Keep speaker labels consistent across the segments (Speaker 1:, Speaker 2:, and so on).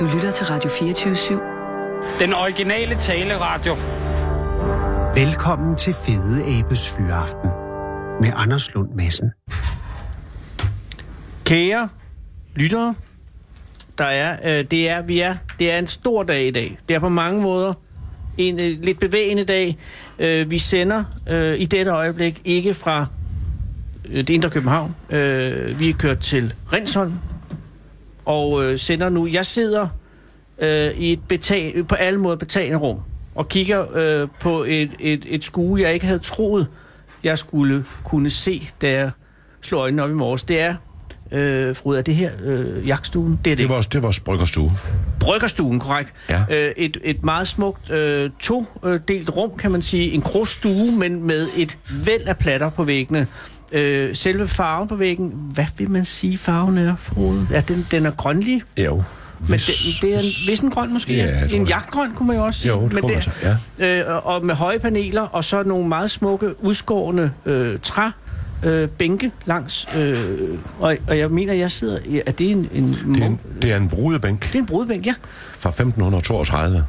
Speaker 1: Du lytter til Radio 24 /7.
Speaker 2: Den originale taleradio.
Speaker 3: Velkommen til Fede Abes Fyraften med Anders Lund Madsen.
Speaker 4: Kære lyttere, der er, øh, det er, vi er, det er en stor dag i dag. Det er på mange måder en øh, lidt bevægende dag. Øh, vi sender øh, i dette øjeblik ikke fra øh, det indre København. Øh, vi er kørt til Rinsholm og øh, sender nu. Jeg sidder øh, i et betal, på alle måder betalende rum og kigger øh, på et, et, et skue, jeg ikke havde troet, jeg skulle kunne se, da jeg slog øjnene op i morges. Det er, øh, Frode, er det her øh, jagtstuen? Det er det.
Speaker 5: Det er vores, det er vores bryggerstue.
Speaker 4: Bryggerstuen, korrekt.
Speaker 5: Ja.
Speaker 4: Øh, et, et meget smukt øh, to-delt rum, kan man sige. En krogstue, men med et væld af platter på væggene. Øh, selve farven på væggen, hvad vil man sige farven er, Frode? Ja, den, den er grønlig,
Speaker 5: Jo.
Speaker 4: men
Speaker 5: Hvis-
Speaker 4: det, det er en vissen grøn måske.
Speaker 5: Ja, jeg
Speaker 4: Ja,
Speaker 5: tror
Speaker 4: en
Speaker 5: det.
Speaker 4: jagtgrøn kunne man jo også sige.
Speaker 5: Jo, det
Speaker 4: men
Speaker 5: kunne man så,
Speaker 4: øh, og- Og med høje paneler, og så nogle meget smukke, udskårende øh, træ, øh, bænke langs. Øh, og, og jeg mener, jeg sidder... i- Er det en... en
Speaker 5: det, er
Speaker 4: munk-
Speaker 5: en, det er en brudebænk
Speaker 4: det er en brudebænk, ja.
Speaker 5: fra 1532.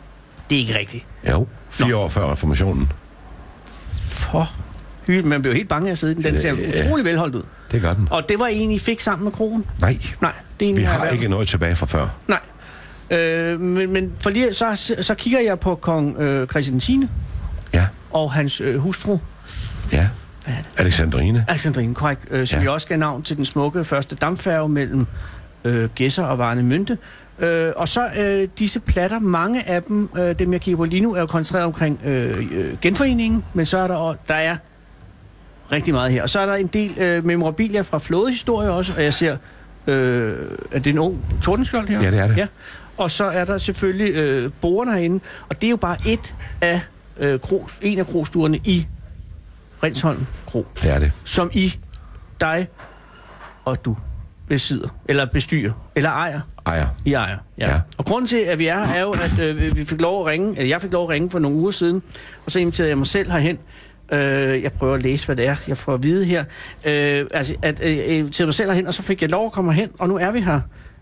Speaker 4: Det er ikke rigtigt.
Speaker 5: Jo. Fire år før reformationen.
Speaker 4: For hyl, man bliver helt bange af at sidde i den. Den ser
Speaker 5: Ja.
Speaker 4: utrolig velholdt ud.
Speaker 5: Det gør den.
Speaker 4: Og det var en, I fik sammen med krogen?
Speaker 5: Nej.
Speaker 4: Nej, det er en,
Speaker 5: Vi
Speaker 4: jeg
Speaker 5: har
Speaker 4: erhvervet.
Speaker 5: ikke noget tilbage fra før.
Speaker 4: Nej. Øh, men, men for lige, så, så kigger jeg på kong øh, Christian 10.
Speaker 5: Ja.
Speaker 4: og hans øh, hustru,
Speaker 5: Ja.
Speaker 4: Hvad er det?
Speaker 5: Alexandrine.
Speaker 4: Alexandrine, korrekt, øh, som ja.
Speaker 5: Ja.
Speaker 4: jo også gav navn til den smukke første dampfærge mellem øh, Gæsser og Varne Mynte. Øh, og så øh, disse platter, mange af dem, øh, dem jeg kigger på lige nu, er jo koncentreret omkring øh, øh, genforeningen, men så er der, og- der er rigtig meget her. Og så er der en del øh, memorabilia fra flådehistorie også, og jeg ser, øh, er det en ung tordenskjold her?
Speaker 5: Ja, det er det.
Speaker 4: Ja. Og så er der selvfølgelig øh, borgerne herinde, og det er jo bare et af øh, kros, en af krostuerne i Rinsholm Kro
Speaker 5: Det er det.
Speaker 4: som I, dig og du besidder, eller bestyrer, eller ejer.
Speaker 5: Ejer.
Speaker 4: I ejer, ja. ja.
Speaker 5: Ja.
Speaker 4: Og grunden til, at vi er her, er jo, at øh, vi fik lov at ringe, eller jeg fik lov at ringe for nogle uger siden, og så inviterede jeg mig selv herhen. Øh, jeg prøver at læse, hvad det er, jeg får at vide her. Øh, altså, at øh, jeg inviterede mig selv herhen, og så fik jeg lov at komme hen, og nu er vi her.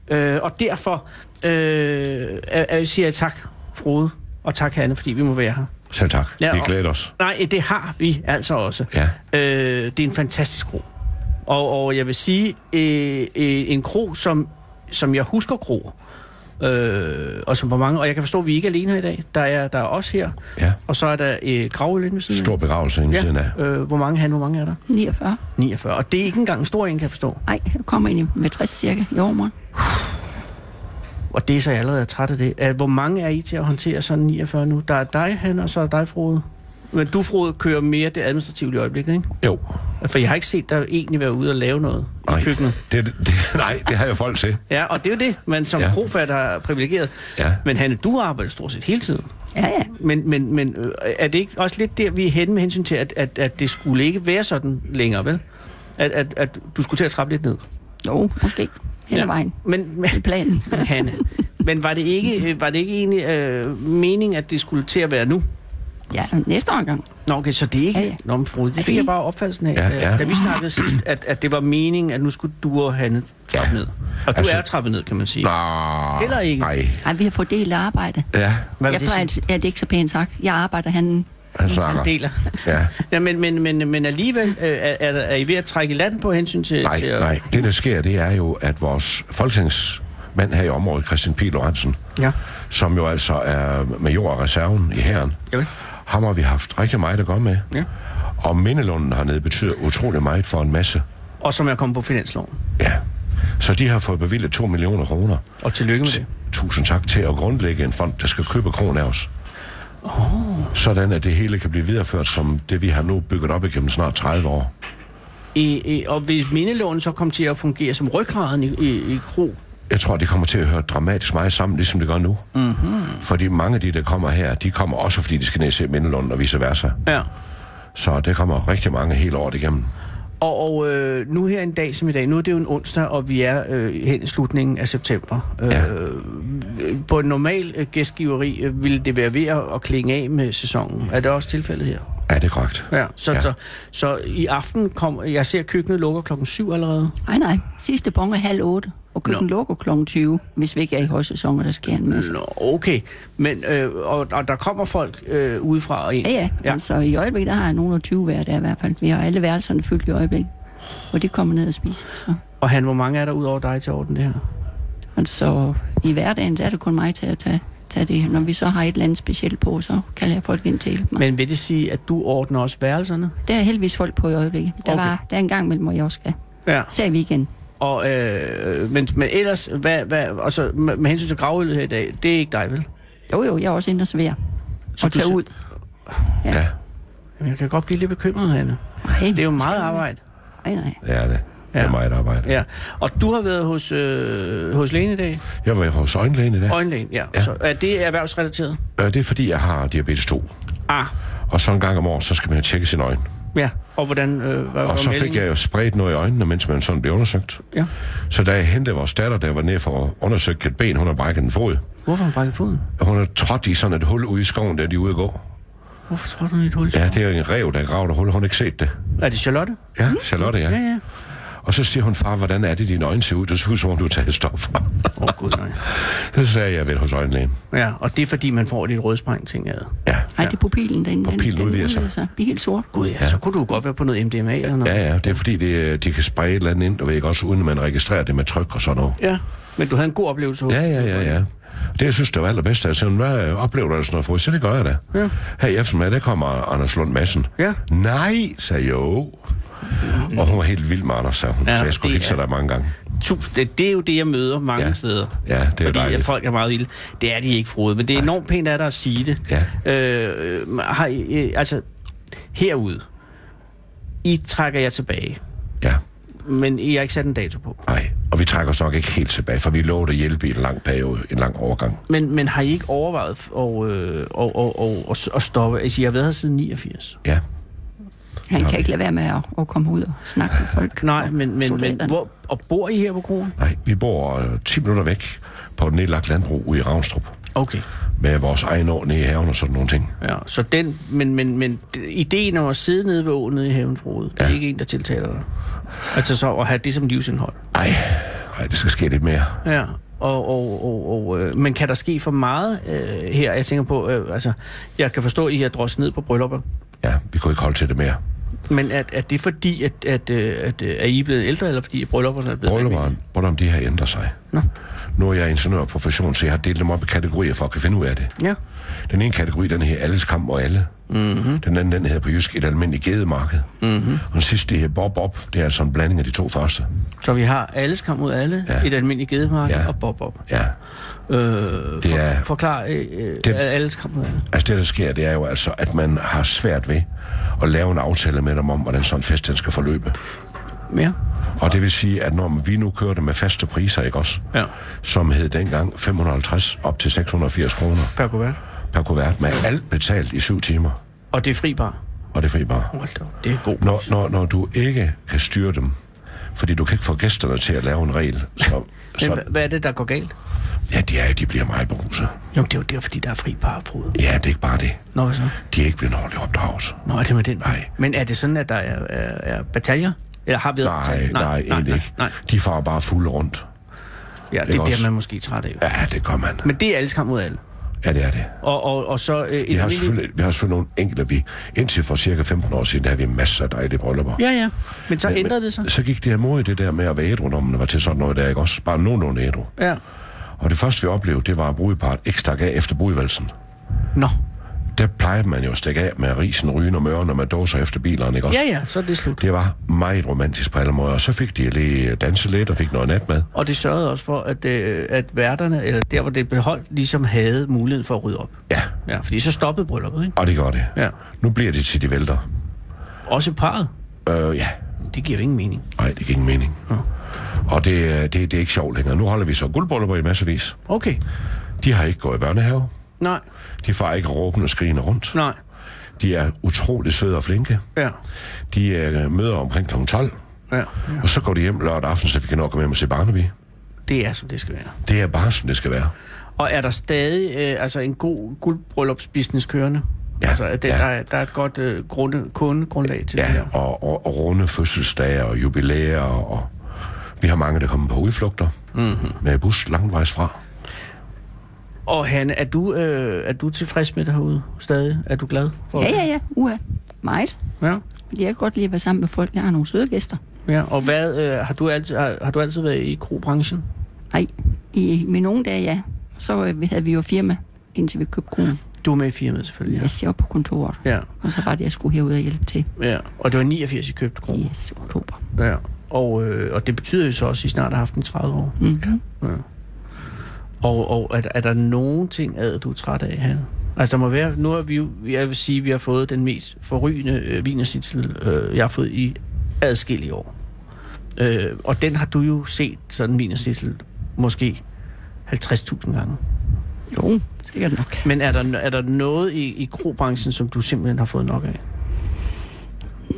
Speaker 4: Øh, og derfor øh, er, er, siger jeg tak, Frode, og tak, Hanne, fordi vi må være her.
Speaker 5: Selv tak.
Speaker 4: Ja,
Speaker 5: Ja, det
Speaker 4: og-
Speaker 5: glæder os.
Speaker 4: Nej, det har vi altså også.
Speaker 5: Ja.
Speaker 4: Øh, det er en fantastisk kro. Og, og jeg vil sige, øh, øh, en kro, som, som jeg husker kro, øh, og som var mange, og jeg kan forstå, at vi ikke er alene her i dag. Der er, der er os her,
Speaker 5: Ja.
Speaker 4: og så er der øh, Gravøl ved siden af.
Speaker 5: Mm. Stor begravelse inden ja. siden af.
Speaker 4: ja. øh, hvor mange han, hvor mange er der?
Speaker 6: 49.
Speaker 4: 49. Og det er ikke engang en stor en, kan jeg forstå.
Speaker 6: Nej, du kommer ind i- med 60 cirka i overmorgen.
Speaker 4: Og det er så jeg allerede er træt af det. At, hvor mange er I til at håndtere sådan 49 nu? Der er dig, han, og så er der dig, Frode. Men du, Frode, kører mere det administrative i øjeblikket, ikke?
Speaker 5: Jo.
Speaker 4: For jeg har ikke set dig egentlig være ude og lave noget
Speaker 5: Nej.
Speaker 4: i køkkenet.
Speaker 5: Det, det, nej, det har jeg folk til.
Speaker 4: Ja, og det er jo det, man som ja.
Speaker 5: Ja.
Speaker 4: krofatter er privilegeret.
Speaker 5: Ja.
Speaker 4: Men Hanne, du arbejder stort set hele tiden.
Speaker 6: Ja, ja.
Speaker 4: Men, men, men øh, er det ikke også lidt der, vi er henne med hensyn til, at, at, at det skulle ikke være sådan længere, vel? At, at, at du skulle til at trappe lidt ned.
Speaker 6: Jo, måske. Hen ad vejen.
Speaker 4: Men,
Speaker 6: I
Speaker 4: men
Speaker 6: planen.
Speaker 4: Hanne, men var det ikke, øh, var det ikke egentlig øh, meningen, at det skulle til at være nu?
Speaker 6: ja, næste omgang.
Speaker 4: Nå, okay, så det er ikke... Ja,
Speaker 6: Ja,
Speaker 4: ja.
Speaker 6: ja.
Speaker 4: Nå, men Frode, det
Speaker 6: Er
Speaker 4: fik
Speaker 6: det
Speaker 4: jeg
Speaker 6: ikke?
Speaker 4: bare opfattelsen af,
Speaker 5: Ja,
Speaker 4: ja, ja.
Speaker 5: ja.
Speaker 4: da vi snakkede sidst, at, at det var meningen, at nu skulle du og Hanne trappe ja.
Speaker 5: Ja.
Speaker 4: ned. Og du altså,
Speaker 5: Altså-
Speaker 4: er trappet ned, kan man sige.
Speaker 5: Nå,
Speaker 4: Heller ikke.
Speaker 5: Nej.
Speaker 6: Ej, vi har fordelt arbejde.
Speaker 5: Ja.
Speaker 4: Hvad
Speaker 6: jeg
Speaker 4: vil det
Speaker 6: plejer
Speaker 4: sige?
Speaker 6: altid, ja, det er ikke så pænt sagt. Jeg arbejder, han
Speaker 5: Han snakker.
Speaker 4: Han deler.
Speaker 5: Ja.
Speaker 4: Ja, men, men, men, men alligevel, øh, er, er, er I ved at trække i land på hensyn til...
Speaker 5: Nej,
Speaker 4: til at-
Speaker 5: nej. Det, der sker, det er jo, at vores folketingsmand her i området, Christian P. Lorentzen,
Speaker 4: Ja.
Speaker 5: som jo altså er major af reserven i hæren,
Speaker 4: Javel.
Speaker 5: ham har vi haft rigtig meget at gøre med.
Speaker 4: Ja.
Speaker 5: Og mindelunden hernede betyder utrolig meget for en masse.
Speaker 4: Og som er kommet på finansloven.
Speaker 5: Ja. Så de har fået bevilget 2 millioner kroner.
Speaker 4: Og tillykke med
Speaker 5: T-
Speaker 4: det.
Speaker 5: Tusind tak til at grundlægge en fond, der skal købe kronen af os. Oh. Sådan, at det hele kan blive videreført som det, vi har nu bygget op igennem snart 30 år.
Speaker 4: I, I, og hvis mindelånen så kom til at fungere som ryggraden i, i, i kro,
Speaker 5: Jeg tror, det kommer til at høre dramatisk meget sammen, ligesom det gør nu. Mm-hmm. Fordi mange af de, der kommer her, de kommer også, fordi de skal ned og se Mindelunden og vice versa.
Speaker 4: ja.
Speaker 5: Så der kommer rigtig mange hele året igennem.
Speaker 4: og, og øh, nu her en dag som i dag, nu er det jo en onsdag, og vi er øh, hen i slutningen af september.
Speaker 5: Ja.
Speaker 4: Øh, på en normal øh, gæstgiveri øh, ville det være ved at, at klinge af med sæsonen. Er det også tilfældet her?
Speaker 5: Ja, det er korrekt.
Speaker 4: Ja, så, ja.
Speaker 5: Ja.
Speaker 4: så, så i aften kom, jeg ser køkkenet lukker klokken syv allerede.
Speaker 6: Nej, nej. Sidste bonge halv otte. og køkken lukker kl. 20, hvis vi ikke er i højsæson, og der sker en masse.
Speaker 4: Nå, okay. Men, øh, og, og der kommer folk øh, udefra og ind?
Speaker 6: Ja, ja. ja.
Speaker 4: ja.
Speaker 6: Altså, i øjeblikket, der har jeg nogen af 20 hver dag i hvert fald. Vi har alle værelserne fyldt i øjeblikket. Og de kommer ned og spiser. Så.
Speaker 4: Og han, hvor mange er der ud over dig til orden det her?
Speaker 6: Altså, i hverdagen, der er det kun mig til at tage, tage det. Når vi så har et eller andet specielt på, så kalder jeg folk ind til at hjælpe mig. Men...
Speaker 4: Men vil det sige, at du ordner også værelserne?
Speaker 6: Der er heldigvis folk på i øjeblikket. Der,
Speaker 4: Okay.
Speaker 6: okay. var, der er en gang mellem, hvor jeg også skal.
Speaker 4: Ja.
Speaker 6: Ser vi igen.
Speaker 4: Og, øh, men, men ellers, hvad, hvad, og så med, med hensyn til gravølet her i dag, det er ikke dig, vel?
Speaker 6: Jo, jo, jeg er også inde og serverer.
Speaker 4: Så
Speaker 6: og
Speaker 4: du
Speaker 6: tager
Speaker 4: ser-
Speaker 6: ud.
Speaker 5: Ja,
Speaker 4: Jamen, jeg kan godt blive lidt bekymret, Hanne.
Speaker 6: Ej,
Speaker 4: Det er jo meget arbejde.
Speaker 6: Nej, nej.
Speaker 5: ja det. Det
Speaker 4: Ja.
Speaker 5: er meget arbejde.
Speaker 4: Ja. Og du har været hos, øh, hos lægen i dag?
Speaker 5: Jeg var hos øjenlægen i dag.
Speaker 4: Øjenlægen, ja. ja. Så er det erhvervsrelateret?
Speaker 5: Øh, Det er fordi, jeg har diabetes 2.
Speaker 4: Ah,
Speaker 5: Og så en gang om året, så skal man jo tjekke sine øjne.
Speaker 4: ja. Og hvordan øh, var var
Speaker 5: Og så fik
Speaker 4: meldingen?
Speaker 5: jeg jo spredt noget i øjnene, mens man sådan blev undersøgt.
Speaker 4: Ja.
Speaker 5: Så da jeg hentede vores datter, der var nede for at undersøge et ben, hun har brækket en fod.
Speaker 4: Hvorfor har hun brækket foden?
Speaker 5: Hun har trådt i sådan et hul ude i skoven, der de er ude at gå.
Speaker 4: Hvorfor tror du, hun er i et hul?
Speaker 5: Ja, det er jo en rev, der graver et hul. Hun har ikke set det.
Speaker 4: Er det Charlotte?
Speaker 5: Ja, Charlotte, ja.
Speaker 4: Mm. Ja, ja.
Speaker 5: Og så siger hun, far, hvordan er det, dine øjne ser ud? Det ser ud, som om du har taget stoffer.
Speaker 4: Åh, oh, gud nej.
Speaker 5: så sagde jeg, jeg ved hos øjenlægen.
Speaker 4: Ja, og det er fordi, man får lidt rødspræng ting af.
Speaker 5: Ja,
Speaker 6: Nej, det er pupillen, den,
Speaker 5: Pupillen
Speaker 6: den, den
Speaker 5: udvider sig.
Speaker 6: sig. Det er helt sort.
Speaker 4: Gud ja, ja, så kunne du godt være på noget MDMA eller noget.
Speaker 5: ja, ja. Det er fordi, det, øh, de kan sprede et eller andet ind, du ved ikke, også uden at man registrerer det med tryk og sådan noget.
Speaker 4: ja. Men du havde en god oplevelse hos
Speaker 5: Ja, ja, ja, ja. Det, jeg synes, det var allerbedst, er, at sige, hvad øh, oplever du af sådan noget frygt? Så det gør jeg da. Ja. Her i eftermiddag, der kommer Anders Lund Madsen.
Speaker 4: Ja.
Speaker 5: Nej, sagde jeg jo. Og hun var helt vild med Anders, sagde hun.
Speaker 4: Ja,
Speaker 5: Ja, så jeg skulle
Speaker 4: det
Speaker 5: hilse
Speaker 4: er-
Speaker 5: dig mange gange.
Speaker 4: Tusind, det, det er jo det, jeg møder mange
Speaker 5: Ja.
Speaker 4: steder.
Speaker 5: Ja, det er jo
Speaker 4: Fordi
Speaker 5: dejligt.
Speaker 4: at folk er meget vilde. Det er de ikke, Frode, men det er enormt pænt af dig at sige det.
Speaker 5: Ja.
Speaker 4: Øh, øh, har I, øh, altså, herude, I trækker jer tilbage,
Speaker 5: Ja,
Speaker 4: men I har ikke sat en dato på.
Speaker 5: nej. Og vi trækker os nok ikke helt tilbage, for vi lovede at hjælpe i en lang periode, en lang overgang.
Speaker 4: Men, men har I ikke overvejet f- og, øh, og, og, og, og, og stoppe? Altså, I har været her siden 89.
Speaker 5: Ja.
Speaker 6: Han
Speaker 5: Okay.
Speaker 6: kan ikke lade være med at, at komme ud og snakke med folk.
Speaker 4: Nej,
Speaker 6: og
Speaker 4: men, men, men
Speaker 6: soldaterne.
Speaker 4: hvor, og bor I her på kronen?
Speaker 5: Nej, vi bor øh, 10 minutter væk på et nedlagt landbrug ude i Ravnstrup.
Speaker 4: Okay.
Speaker 5: Med vores egen år nede i haven og sådan nogle ting.
Speaker 4: Ja, så den, men, men, men d- ideen om at sidde nede ved åen nede i haven, Frode, ja. det er
Speaker 5: Ja.
Speaker 4: ikke en, der tiltaler dig. Altså så at have det som livsindhold.
Speaker 5: Nej, nej, det skal ske lidt mere.
Speaker 4: Ja, og, og, og, og øh, men kan der ske for meget øh, her? Jeg tænker på, øh, altså, jeg kan forstå, at I har drosset ned på bryllupper,
Speaker 5: Ja, vi kunne ikke holde til det mere.
Speaker 4: men er, er det fordi, at, at, øh, at, øh, er I blevet ældre, eller fordi at bryllupperne er blevet
Speaker 5: Brølluperen, hvordan de har ændret sig.
Speaker 4: Nå.
Speaker 5: Nu er jeg ingeniør og profession, så jeg har delt dem op i kategorier for at kunne finde ud af det.
Speaker 4: Ja.
Speaker 5: Den ene kategori, den hedder alles kamp og alle. Mm-hmm. Den anden, den hedder på jysk et almindeligt gedemarked. Mm-hmm. Og den sidste, det hedder bob bob. Det er altså en blanding af de to første.
Speaker 4: Så vi har alles kamp mod alle, ja.
Speaker 5: Ja.
Speaker 4: et almindeligt gedemarked ja.
Speaker 5: Ja.
Speaker 4: og bob op.
Speaker 5: Ja.
Speaker 4: Øh,
Speaker 5: Det
Speaker 4: for,
Speaker 5: er-
Speaker 4: Forklar øh, øh,
Speaker 5: Det-
Speaker 4: alles kamp mod alle.
Speaker 5: Altså det, der sker, det er jo altså, at man har svært ved at lave en aftale med dem om, hvordan sådan en fest den skal forløbe.
Speaker 4: Mere?
Speaker 5: Og det vil sige, at når vi nu kørte med faste priser, ikke også?
Speaker 4: Ja.
Speaker 5: Som hed dengang 550 op til 680 kroner
Speaker 4: Per kuvert.
Speaker 5: per kuvert med alt betalt i syv timer.
Speaker 4: Og det er fri bar.
Speaker 5: Og det er fri bare.
Speaker 4: Hold da op, det er god.
Speaker 5: Når, når, når du ikke kan styre dem, fordi du kan ikke få gæsterne til at lave en regel, så,
Speaker 4: Men
Speaker 5: så
Speaker 4: hva- hvad er det, der går galt?
Speaker 5: ja, de, er, jo- de bliver meget beruset.
Speaker 4: Jo, det er jo der, fordi der er fri bar, Frode.
Speaker 5: Ja, det er ikke bare det.
Speaker 4: Nå, hvad så?
Speaker 5: De er ikke blevet ordentligt opdraget.
Speaker 4: Nå, er det med den?
Speaker 5: Nej.
Speaker 4: Men er det sådan, at der er, er, er bataljer? Eller har vi
Speaker 5: Nej, nej, nej egentlig ikke.
Speaker 4: Nej,
Speaker 5: De farer bare fulde rundt.
Speaker 4: ja, det
Speaker 5: Ikke
Speaker 4: bliver
Speaker 5: også?
Speaker 4: man måske træt af.
Speaker 5: Ja, det gør man.
Speaker 4: Men det er alles kamp mod alle.
Speaker 5: Ja, det er det.
Speaker 4: Og, og, og så... Øh, et
Speaker 5: Vi har,
Speaker 4: almindeligt-
Speaker 5: selvfølgelig, vi har selvfølgelig nogle enkelte, vi indtil for cirka 15 år siden, der havde vi masser af dejlige bryllupper.
Speaker 4: Ja, ja. Men så ændrede det sig.
Speaker 5: Så gik det imod det der med at være ædru, når man var til sådan noget der, ikke også? Bare nogenlunde ædru.
Speaker 4: Ja.
Speaker 5: Og det første, vi oplevede, det var, at brudeparret ikke stak af efter brudvalsen.
Speaker 4: Nå.
Speaker 5: Der plejede man jo at stikke af med risen, rygen og møren, når man dåser efter bilerne, ikke også?
Speaker 4: Ja, ja, så er det slut.
Speaker 5: Det var meget romantisk på alle måder, og så fik de lige danset lidt og fik noget natmad.
Speaker 4: Og det sørgede også for, at, øh, at værterne, eller der hvor det blev holdt, ligesom havde muligheden for at rydde op.
Speaker 5: Ja,
Speaker 4: Ja, fordi så stoppede brylluppet, ikke?
Speaker 5: og det gør det.
Speaker 4: Ja.
Speaker 5: Nu bliver det til de vælter.
Speaker 4: Også parret.
Speaker 5: Øh, ja,
Speaker 4: Det giver jo ingen mening.
Speaker 5: nej, det giver ingen mening. Og det, øh, det, det er ikke sjovt længere. Nu holder vi så guldbryllupper i massevis.
Speaker 4: Okay.
Speaker 5: De har ikke gået i børnehave.
Speaker 4: Nej,
Speaker 5: De får ikke råben og skrigende rundt.
Speaker 4: nej.
Speaker 5: De er utrolig søde og flinke.
Speaker 4: Ja,
Speaker 5: De øh, møder omkring kl. 12.
Speaker 4: ja.
Speaker 5: Og så går de hjem lørdag aften, så vi kan nok komme hjem og se Barnaby.
Speaker 4: Det er, som det skal være.
Speaker 5: Det er bare, som det skal være.
Speaker 4: Og er der stadig øh, altså en god guldbryllupsbusiness kørende?
Speaker 5: Ja,
Speaker 4: altså, at det,
Speaker 5: ja.
Speaker 4: der, er- der er et godt øh, grunde, kundegrundlag til det
Speaker 5: Ja,
Speaker 4: her.
Speaker 5: og, og, og runde fødselsdage og jubilæer og Vi har mange, der kommer på udflugter mm-hmm. med bus langvejs fra.
Speaker 4: Og Hanne, er du, øh, er du tilfreds med det herude stadig? Er du glad for
Speaker 6: Ja, ja, ja. Uha. Meget.
Speaker 4: det? Ja.
Speaker 6: Fordi jeg kan godt lide at være sammen med folk. Jeg har nogle søde gæster.
Speaker 4: Ja, og hvad, øh, har, du altid, har, har du altid været i krobranchen?
Speaker 6: Nej, i mine unge dage, ja. Så øh, vi- havde vi jo firma, indtil vi købte kronen.
Speaker 4: Du er med i firmaet selvfølgelig, ja.
Speaker 6: Jeg ser på kontoret.
Speaker 4: Ja,
Speaker 6: Og så var det, jeg skulle herud og hjælpe til.
Speaker 4: ja. Og det var 89, I købte kronen.
Speaker 6: Yes, oktober.
Speaker 4: Ja. Og, øh, og det betyder jo så også, at I snart har haft den i 30 år.
Speaker 6: Mm-hmm.
Speaker 4: Og, og er, der- er der nogen ting, ad, du er træt af, Hanne? Altså, der må være... Nu har vi jo... Jeg vil sige, at vi har fået den mest forrygende øh, vinersitsel, øh, jeg har fået i adskillige år. Øh, og den har du jo set, sådan en vinersitsel, måske 50.000 gange.
Speaker 6: Jo, sikkert nok.
Speaker 4: Men er der, er der noget i, i krobranchen, som du simpelthen har fået nok af?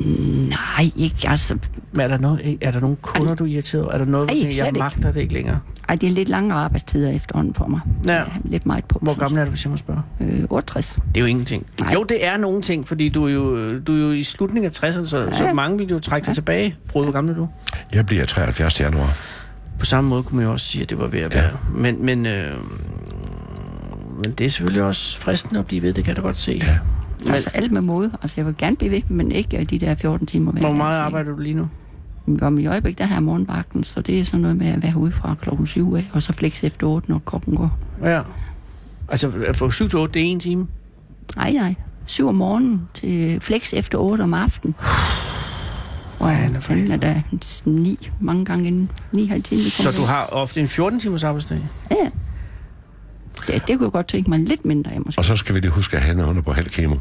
Speaker 6: Nej, ikke altså.
Speaker 4: Men er der, noget, er der nogle kunder, du er irriteret over? Er der noget, hvor
Speaker 6: Ej,
Speaker 4: du tænker, jeg
Speaker 6: slet ikke.
Speaker 4: magter det ikke længere?
Speaker 6: Ej, det er lidt lange arbejdstider efterhånden for mig.
Speaker 4: Ja.
Speaker 6: Lidt meget på.
Speaker 4: Hvor gammel er du, hvis jeg må spørge?
Speaker 6: Øh, 68.
Speaker 4: Det er jo ingenting. Nej.
Speaker 6: Nej.
Speaker 4: Jo, det er nogle ting, fordi du er jo, du er jo i slutningen af 60'erne, så, ja. så mange ville jo trække sig ja. tilbage. Brød, hvor gammel er du?
Speaker 5: Jeg bliver 73. til januar.
Speaker 4: På samme måde kunne man jo også sige, at det var ved at være. Ja. Men, men, øh, men det er selvfølgelig også fristende at blive ved, det kan du godt se. Ja. Men-
Speaker 6: Men... Altså alt med måde. Altså jeg vil gerne blive ved, men ikke øh, de der 14 timer hver
Speaker 4: Hvor
Speaker 6: dag,
Speaker 4: meget
Speaker 6: altså,
Speaker 4: arbejder du lige nu?
Speaker 6: ikke? Om i øjeblikket, der har jeg morgenvagten, så det er sådan noget med at være ude fra klokken 7 af, og så flex efter 8, når kokken går.
Speaker 4: Ja. Altså, fra 7 til 8, det er en time.
Speaker 6: Nej, nej. 7 om morgenen til flex efter 8 om aftenen. Og
Speaker 4: Ja, det er
Speaker 6: jeg fanden er der 9, mange gange inden 9 halv time. vi
Speaker 4: Så
Speaker 6: kommer
Speaker 4: du
Speaker 6: hjem.
Speaker 4: har ofte en 14-timers arbejdsdag?
Speaker 6: Ja. Det, det kunne jeg godt tænke mig lidt mindre af, måske.
Speaker 5: Og så skal vi lige huske, at Hanne hun er på halv kemo.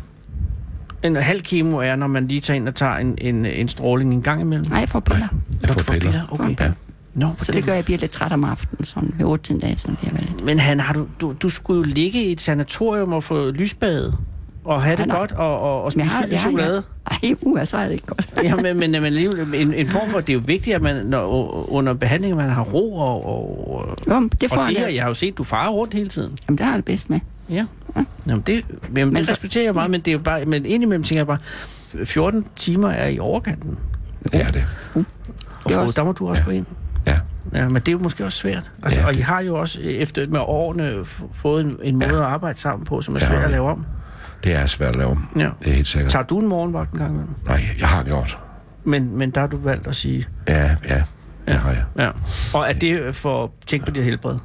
Speaker 4: En halv kemo er, når man lige tager ind og tager en, en, en stråling en gang imellem.
Speaker 6: Nej, jeg får piller.
Speaker 4: Nå,
Speaker 5: Jeg
Speaker 4: du
Speaker 5: får
Speaker 4: får
Speaker 5: piller.
Speaker 4: piller, okay.
Speaker 5: Ja.
Speaker 4: Nå, på
Speaker 6: Så
Speaker 4: den
Speaker 6: det gør, at jeg bliver lidt træt om aftenen, sådan ved 8 10 dage, sådan bliver jeg lidt.
Speaker 4: Men han, har du, du, du skulle jo ligge i et sanatorium og få lysbad og have det
Speaker 6: Nej, nej.
Speaker 4: godt og, og, og spise fyldt chokolade.
Speaker 6: Ej, uha, så er det ikke godt.
Speaker 4: Ja, men, men, men alligevel, en, en form for, det er jo vigtigt, at man når, under behandlingen, man har ro og... og, og
Speaker 6: Jo, men det får
Speaker 4: og det her,
Speaker 6: jeg.
Speaker 4: jeg har jo set, du farer rundt hele tiden.
Speaker 6: Jamen, det har jeg det bedst med.
Speaker 4: Ja. Jamen, det, jamen,
Speaker 6: Men
Speaker 4: det
Speaker 6: så-
Speaker 4: respekterer jeg meget, men, det er jo bare, men indimellem tænker jeg bare, 14 timer er i overkanten.
Speaker 5: Det er det.
Speaker 4: Og
Speaker 6: Det er
Speaker 4: for,
Speaker 6: også-
Speaker 4: der må du også
Speaker 5: Ja.
Speaker 4: gå ind.
Speaker 5: Ja.
Speaker 4: Ja, men det er jo måske også svært. Altså, ja,
Speaker 5: Ja,
Speaker 4: og I
Speaker 5: det-
Speaker 4: har jo også øh, efter med årene f- fået en, en måde
Speaker 5: Ja.
Speaker 4: at arbejde sammen på, som er
Speaker 5: Ja,
Speaker 4: svær at
Speaker 5: det-
Speaker 4: lave om.
Speaker 5: Det er svært at lave om.
Speaker 4: Ja.
Speaker 5: Det er helt sikkert.
Speaker 4: Tager du en morgenvagt en gang imellem?
Speaker 5: Nej, jeg har gjort.
Speaker 4: Men, men der har du valgt at sige...
Speaker 5: Ja, ja. Det har jeg.
Speaker 4: Ja. Og er det for at tænke på dit helbred?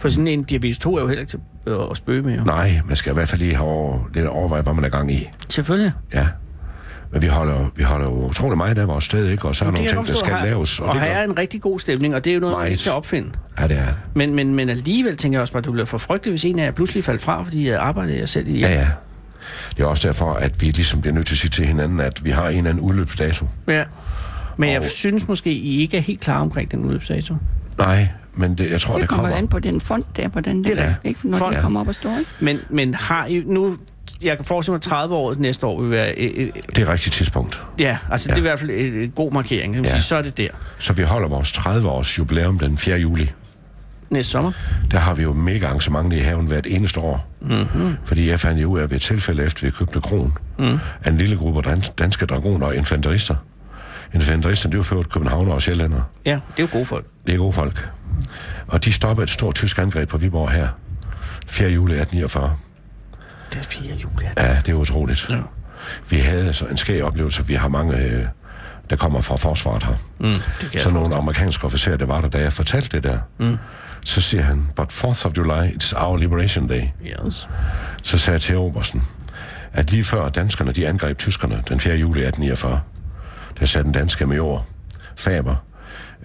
Speaker 4: For sådan en diabetes 2 er jo heller ikke til øh, at spøge med. Jo.
Speaker 5: Nej, man skal i hvert fald lige have over, lidt overveje, hvad man er gang i.
Speaker 4: Selvfølgelig.
Speaker 5: Ja. Men vi holder, vi holder jo utrolig meget af vores sted, ikke? Og så er der
Speaker 4: Det
Speaker 5: nogle
Speaker 4: kan
Speaker 5: ting,
Speaker 4: jeg godt
Speaker 5: der
Speaker 4: forstå.
Speaker 5: skal
Speaker 4: Her-
Speaker 5: laves.
Speaker 4: Og, og
Speaker 5: det
Speaker 4: her
Speaker 5: gør-
Speaker 4: er en rigtig god stemning, og det er jo noget, man
Speaker 5: Meget.
Speaker 4: ikke kan opfinde.
Speaker 5: Ja, det er.
Speaker 4: Men, men, men alligevel tænker jeg også bare, at du bliver for frygtelig, hvis en af jer pludselig falder fra, fordi jeg arbejder jeg selv i.
Speaker 5: Ja, ja. Det er også derfor, at vi ligesom bliver nødt til at sige til hinanden, at vi har en eller anden udløbsdato.
Speaker 4: ja. Men jeg
Speaker 5: Og-
Speaker 4: synes måske, I ikke er helt klar omkring den udløbsdato.
Speaker 5: Nej, men det, jeg tror, det,
Speaker 6: Det kommer
Speaker 5: kommer.
Speaker 6: jo an på den fond der, hvordan den
Speaker 5: Det er
Speaker 6: det,
Speaker 5: det.
Speaker 6: ikke, når
Speaker 4: Fond,
Speaker 5: ja.
Speaker 6: den kommer op og står. Ikke?
Speaker 4: Men, men har I nu... Jeg kan forestille mig, at 30 år næste år vil være... Øh, øh,
Speaker 5: Det er rigtigt tidspunkt.
Speaker 4: ja, altså ja.
Speaker 5: Ja.
Speaker 4: det er i hvert fald en, en god markering. Kan man
Speaker 5: Ja.
Speaker 4: sige. Så er det der.
Speaker 5: Så vi holder vores 30-års jubilæum den 4. juli.
Speaker 4: Næste sommer.
Speaker 5: Der har vi jo mega arrangementer i haven hvert eneste år.
Speaker 6: Mhm.
Speaker 5: Mm-hmm. Fordi jeg fandt jo ud af ved et tilfælde, efter vi købte kron, mm. at en lille gruppe dans- danske dragoner og infanterister. Infanteristerne, det var før københavnere og sjællændere.
Speaker 4: Ja, det er jo gode folk.
Speaker 5: Det er gode folk. Og de stopper et stort tysk angreb på Viborg her. 4. juli 1849.
Speaker 4: Det er 4. juli. Ja.
Speaker 5: Ja, det er utroligt. Ja. Vi havde så en skæg oplevelse. Vi har mange, øh, der kommer fra forsvaret her. Mm,
Speaker 4: jeg
Speaker 5: så nogle amerikanske officerer, der var der, da jeg fortalte det der. Mm. Så siger han, but 4th of July, it's our liberation day.
Speaker 4: Yes.
Speaker 5: Så sagde jeg til Obersten, at lige før danskerne de angreb tyskerne den 4. juli 1849, der sagde den danske major Faber,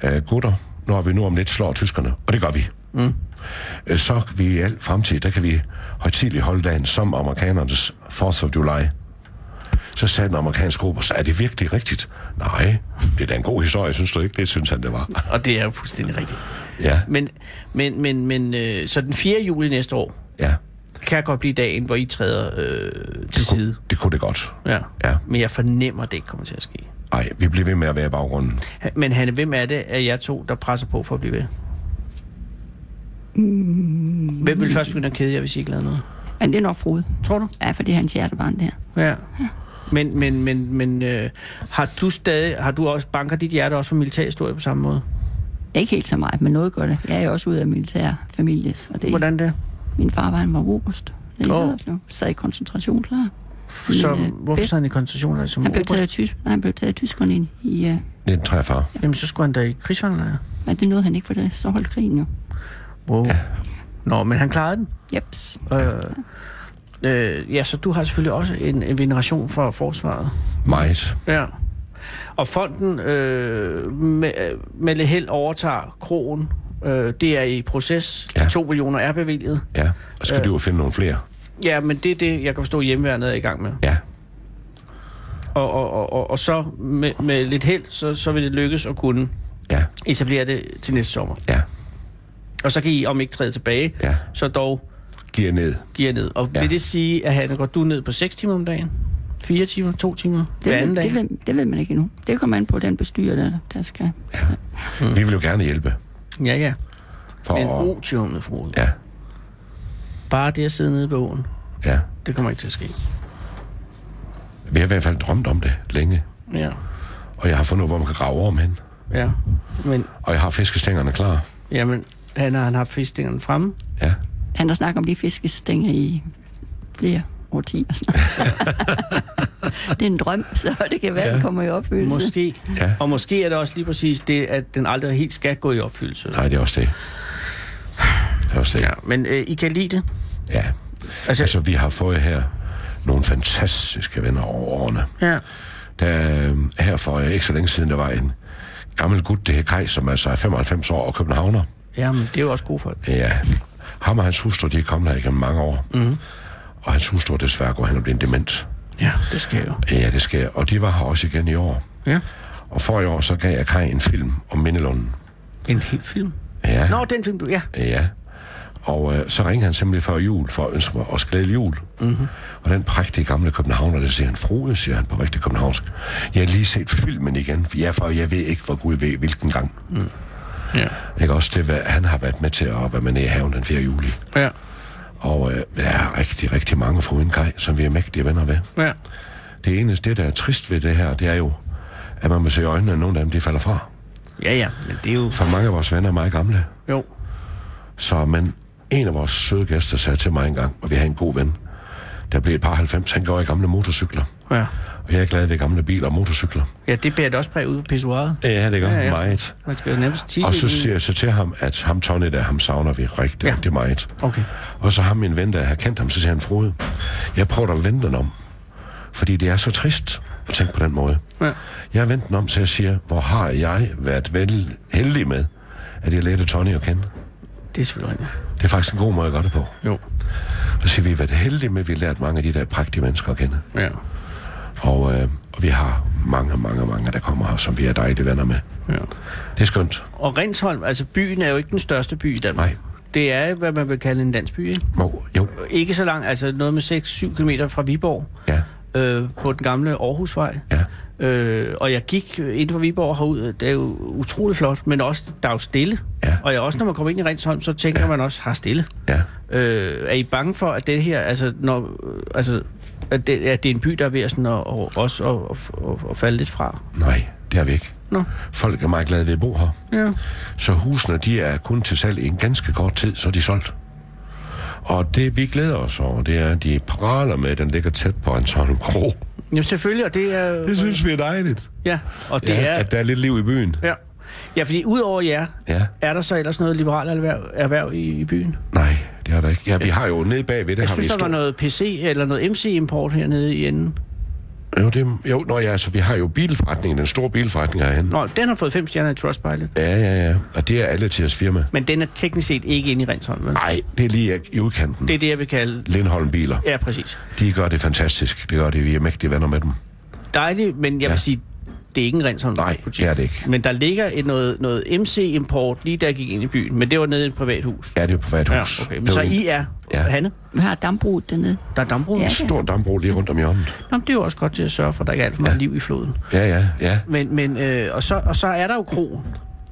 Speaker 5: "Øh, gutter, når vi nu om lidt slår tyskerne, og det gør vi. Mm. Så kan vi i al fremtid, der kan vi højtidligt holde dagen som amerikanernes 4th of July. Så sagde den amerikanske oberst, er det virkelig rigtigt? Nej, det er da en god historie, synes du ikke? Det synes han, det var.
Speaker 4: Og det er jo fuldstændig rigtigt.
Speaker 5: Ja,
Speaker 4: Men, men, men, men øh, så den 4. juli næste år
Speaker 5: ja,
Speaker 4: kan godt blive dagen, hvor I træder øh, til side.
Speaker 5: det kunne det godt.
Speaker 4: Ja.
Speaker 5: Ja.
Speaker 4: Men jeg fornemmer, at det ikke kommer til at ske.
Speaker 5: Ej, vi bliver ved med at være i baggrunden.
Speaker 4: Ha- Men Hanne, hvem er det af jer to, der presser på for at blive ved? Mm. Hvem vil først begynde at kede jer, hvis I ikke lavede noget?
Speaker 6: Men det er nok Frode.
Speaker 4: Tror du?
Speaker 6: Ja, for det er hans hjertebarn der.
Speaker 4: Ja. Men, men, men, men øh, har du stadig, har du også, banker dit hjerte også for militærhistorie på samme måde?
Speaker 6: Det er ikke helt så meget, men noget gør det. Jeg er jo også ud af militær familie, så det
Speaker 4: Hvordan det?
Speaker 6: Min far var en oberst. Det
Speaker 4: Åh.
Speaker 6: oh. sad i koncentrationslejr.
Speaker 4: Så
Speaker 6: Men, øh,
Speaker 4: hvorfor
Speaker 6: det-
Speaker 4: sad han i koncentrationslejr som
Speaker 6: Han blev
Speaker 4: oberst?
Speaker 6: taget af, tysk, nej, han blev taget af tyskerne ind i... Uh,
Speaker 5: 1943.
Speaker 4: Jamen, så skulle han da i krigsfangelejr.
Speaker 6: men det nåede han ikke, for det, så holdt krigen jo.
Speaker 4: Wow. Nå, men han klarede den.
Speaker 6: Jeps.
Speaker 4: Øh, øh, ja, så du har selvfølgelig også en, en veneration for forsvaret.
Speaker 5: Meget.
Speaker 4: Ja. Og fonden øh, med, med lidt held overtager krogen. Øh, det er i proces. Ja.
Speaker 5: Ja.
Speaker 4: De to millioner er bevilget.
Speaker 5: Ja. Og så skal øh. de jo finde nogle flere.
Speaker 4: Ja, men det er det, jeg kan forstå, hjemmeværnet er i gang med.
Speaker 5: Ja.
Speaker 4: Og, og, og, og, og så med, med lidt held, så, så vil det lykkes at kunne
Speaker 5: Ja.
Speaker 4: etablere det til næste sommer.
Speaker 5: Ja.
Speaker 4: Og så kan I, om ikke træde tilbage,
Speaker 5: Ja.
Speaker 4: så dog
Speaker 5: Giver ned.
Speaker 4: giver ned. Og ja.
Speaker 5: Ja.
Speaker 4: vil det sige, at Hanne, går du ned på 6 timer om dagen? 4 timer? 2 timer?
Speaker 6: Det,
Speaker 4: hver anden
Speaker 6: ved,
Speaker 4: dag?
Speaker 6: det, ved, det ved man ikke endnu. Det kommer an på den bestyrer, der, der skal...
Speaker 5: Mm. Vi vil jo gerne hjælpe.
Speaker 4: Ja, ja.
Speaker 5: For
Speaker 4: Men
Speaker 5: at,
Speaker 4: otiummet, fru.
Speaker 5: ja.
Speaker 4: Bare det at sidde nede på åen,
Speaker 5: Ja.
Speaker 4: det kommer ikke til at ske.
Speaker 5: Vi har i hvert fald drømt om det længe.
Speaker 4: Ja,
Speaker 5: Og jeg har fundet ud af, hvor man kan grave om hen.
Speaker 4: ja. Men,
Speaker 5: Og jeg har fiskestængerne klar.
Speaker 4: jamen, han har, han har fistingerne fremme.
Speaker 5: Ja.
Speaker 6: Han har snakket om de fiskestænger i flere årtier snart. det er en drøm, så det kan være, ja. det kommer i opfyldelse.
Speaker 4: Måske.
Speaker 5: Ja.
Speaker 4: Og måske er det også lige præcis det, at den aldrig helt skal gå i opfyldelse.
Speaker 5: Nej, det er også det. Det er også det. Ja.
Speaker 4: Men øh, I kan lide det?
Speaker 5: ja.
Speaker 4: Altså-
Speaker 5: Altså, altså, vi har fået her nogle fantastiske venner over årene.
Speaker 4: Ja.
Speaker 5: Der, øh, her for øh, ikke så længe siden, der var en gammel gut, det her Kaj, som altså er 95 år og københavner.
Speaker 4: Ja, men det er jo også gode folk.
Speaker 5: Ja. Ham og hans hustru, de er kommet her igennem mange år.
Speaker 4: Mhm.
Speaker 5: Mm. Og hans hustru er desværre går hen og bliver en dement.
Speaker 4: Ja, det skal jeg jo.
Speaker 5: Ja, det sker. Og de var her også igen i år.
Speaker 4: Ja.
Speaker 5: Og for i år, så gav jeg Kaj en film om Mindelunden.
Speaker 4: En hel film.
Speaker 5: Ja.
Speaker 4: Nå, den film, du... Ja.
Speaker 5: Ja. Og øh, så ringede han simpelthen før jul for at ønske mig også glædelig jul.
Speaker 4: Mhm.
Speaker 5: Mm-hmm. Og den prægtige gamle københavner, der siger han, frode, siger han på rigtig københavnsk. Jeg har lige set filmen igen, for jeg, for jeg ved ikke, hvor Gud ved, hvilken gang.
Speaker 4: Mm. Ja.
Speaker 5: Ikke også det, hvad, han har været med til at være med nede i haven den 4. juli.
Speaker 4: Ja.
Speaker 5: Og øh, der er rigtig, rigtig mange fruden Kaj, som vi er mægtige venner ved.
Speaker 4: Ja.
Speaker 5: Det eneste, det der er trist ved det her, det er jo, at man må se i øjnene, at nogle af dem, de falder fra.
Speaker 4: Ja, ja. Men det er jo...
Speaker 5: For mange af vores venner er meget gamle.
Speaker 4: Jo.
Speaker 5: Så men en af vores søde gæster sagde til mig engang, og vi har en god ven, der blev et par 90, han går i gamle motorcykler.
Speaker 4: Ja.
Speaker 5: Og jeg er glad ved gamle biler og motorcykler.
Speaker 4: Ja, det bærer det også præg ud på pissoiret.
Speaker 5: Ja, det gør
Speaker 4: Ja,
Speaker 5: ja,
Speaker 4: ja.
Speaker 5: ja. meget.
Speaker 4: Man skal jo nærmest tisse
Speaker 5: Og så
Speaker 4: i den.
Speaker 5: siger jeg så til ham, at ham Tony der, ham savner vi rigtig,
Speaker 4: Ja.
Speaker 5: ja. rigtig meget.
Speaker 4: Okay.
Speaker 5: Og så har min ven, der har kendt ham, så siger han, Frode, jeg prøver at vende den om. Fordi det er så trist at tænke på den måde.
Speaker 4: Ja.
Speaker 5: Jeg vendte den om, så jeg siger, hvor har jeg været vel heldig med, at jeg lærte Tony at kende.
Speaker 4: Det er selvfølgelig rigtigt.
Speaker 5: Det er faktisk en god måde at gøre det på.
Speaker 4: Jo.
Speaker 5: Og så siger vi, vi har været heldige med, at vi har lært mange af de der prægtige mennesker at kende.
Speaker 4: Ja.
Speaker 5: Og, øh, og vi har mange, mange, mange, der kommer her, som vi er dejlige venner med.
Speaker 4: Ja.
Speaker 5: Det er skønt.
Speaker 4: Og Rensholm, altså byen er jo ikke den største by i Danmark.
Speaker 5: Nej.
Speaker 4: Det er, hvad man vil kalde en landsby, ikke?
Speaker 5: Jo, jo.
Speaker 4: Ikke så langt, altså noget med 6-7 km fra Viborg,
Speaker 5: Ja,
Speaker 4: øh, på den gamle Aarhusvej.
Speaker 5: ja.
Speaker 4: Øh, og jeg gik ind fra Viborg herud, det er jo utrolig flot, men også, der er jo stille.
Speaker 5: Ja.
Speaker 4: Og jeg, også når man kommer ind i Rensholm, så tænker man også, har stille.
Speaker 5: Ja.
Speaker 4: Øh, er I bange for, at det her, altså, når, øh, altså at, det, at det er en by, der er ved at, sådan, at, og, også at, at, at, at falde lidt fra?
Speaker 5: Nej, det har vi ikke.
Speaker 4: Nå.
Speaker 5: Folk er meget glade ved at bo her.
Speaker 4: Ja.
Speaker 5: Så husene, de er kun til salg i en ganske kort tid, så er de solgt. Og det, vi glæder os over, det er, at de praler med, at den ligger tæt på en sådan kro.
Speaker 4: Jamen selvfølgelig, og det er...
Speaker 5: Det synes vi er dejligt.
Speaker 4: Ja, og det
Speaker 5: Ja,
Speaker 4: er...
Speaker 5: at der er lidt liv i byen.
Speaker 4: Ja. ja, fordi udover jer,
Speaker 5: Ja.
Speaker 4: er der så ellers noget liberalt erhverv, erhverv i, i byen?
Speaker 5: Nej, det er der ikke. Ja, vi har jo nede bagved, det
Speaker 4: Jeg
Speaker 5: har
Speaker 4: synes,
Speaker 5: vi
Speaker 4: der var
Speaker 5: stor-
Speaker 4: noget PC eller noget MC-import hernede i enden.
Speaker 5: Jo, det, jo, når jeg, altså, vi har jo bilforretningen, den store bilforretning herhen.
Speaker 4: Nå, den har fået fem stjerner i Trustpilot.
Speaker 5: Ja, ja, ja. Og det er alle til jeres firma.
Speaker 4: Men den er teknisk set ikke inde i Rensholm, vel?
Speaker 5: Nej, det er lige i
Speaker 4: Det
Speaker 5: udkanten. Det...
Speaker 4: er det, jeg vil kalde...
Speaker 5: Lindholm Biler.
Speaker 4: Ja, præcis.
Speaker 5: De gør det fantastisk. Det gør det. Vi er mægtige venner med dem.
Speaker 4: Dejligt, men jeg ja.
Speaker 5: Ja.
Speaker 4: vil sige, det er ikke en Rensholm.
Speaker 5: Nej, det er det ikke.
Speaker 4: Men der ligger et, noget, noget MC-import lige da jeg gik ind i byen, men det var nede i et privat hus.
Speaker 5: Ja, det er jo på hvert
Speaker 4: Ja,
Speaker 5: hus.
Speaker 4: okay. Men
Speaker 5: Der
Speaker 4: så
Speaker 5: jo
Speaker 4: I er, ja.
Speaker 5: Ja.
Speaker 4: Hanne,
Speaker 6: Vi har dambruget dernede.
Speaker 4: der er dambrug.
Speaker 6: Ja.
Speaker 4: Ja.
Speaker 5: en stor dambrug lige rundt om hjørnet.
Speaker 4: Nå, men det er jo også godt til at sørge for, at der ikke er alt for meget ja. liv i floden.
Speaker 5: Ja, ja, ja.
Speaker 4: Men, men øh, og, så, og så er der jo kroen.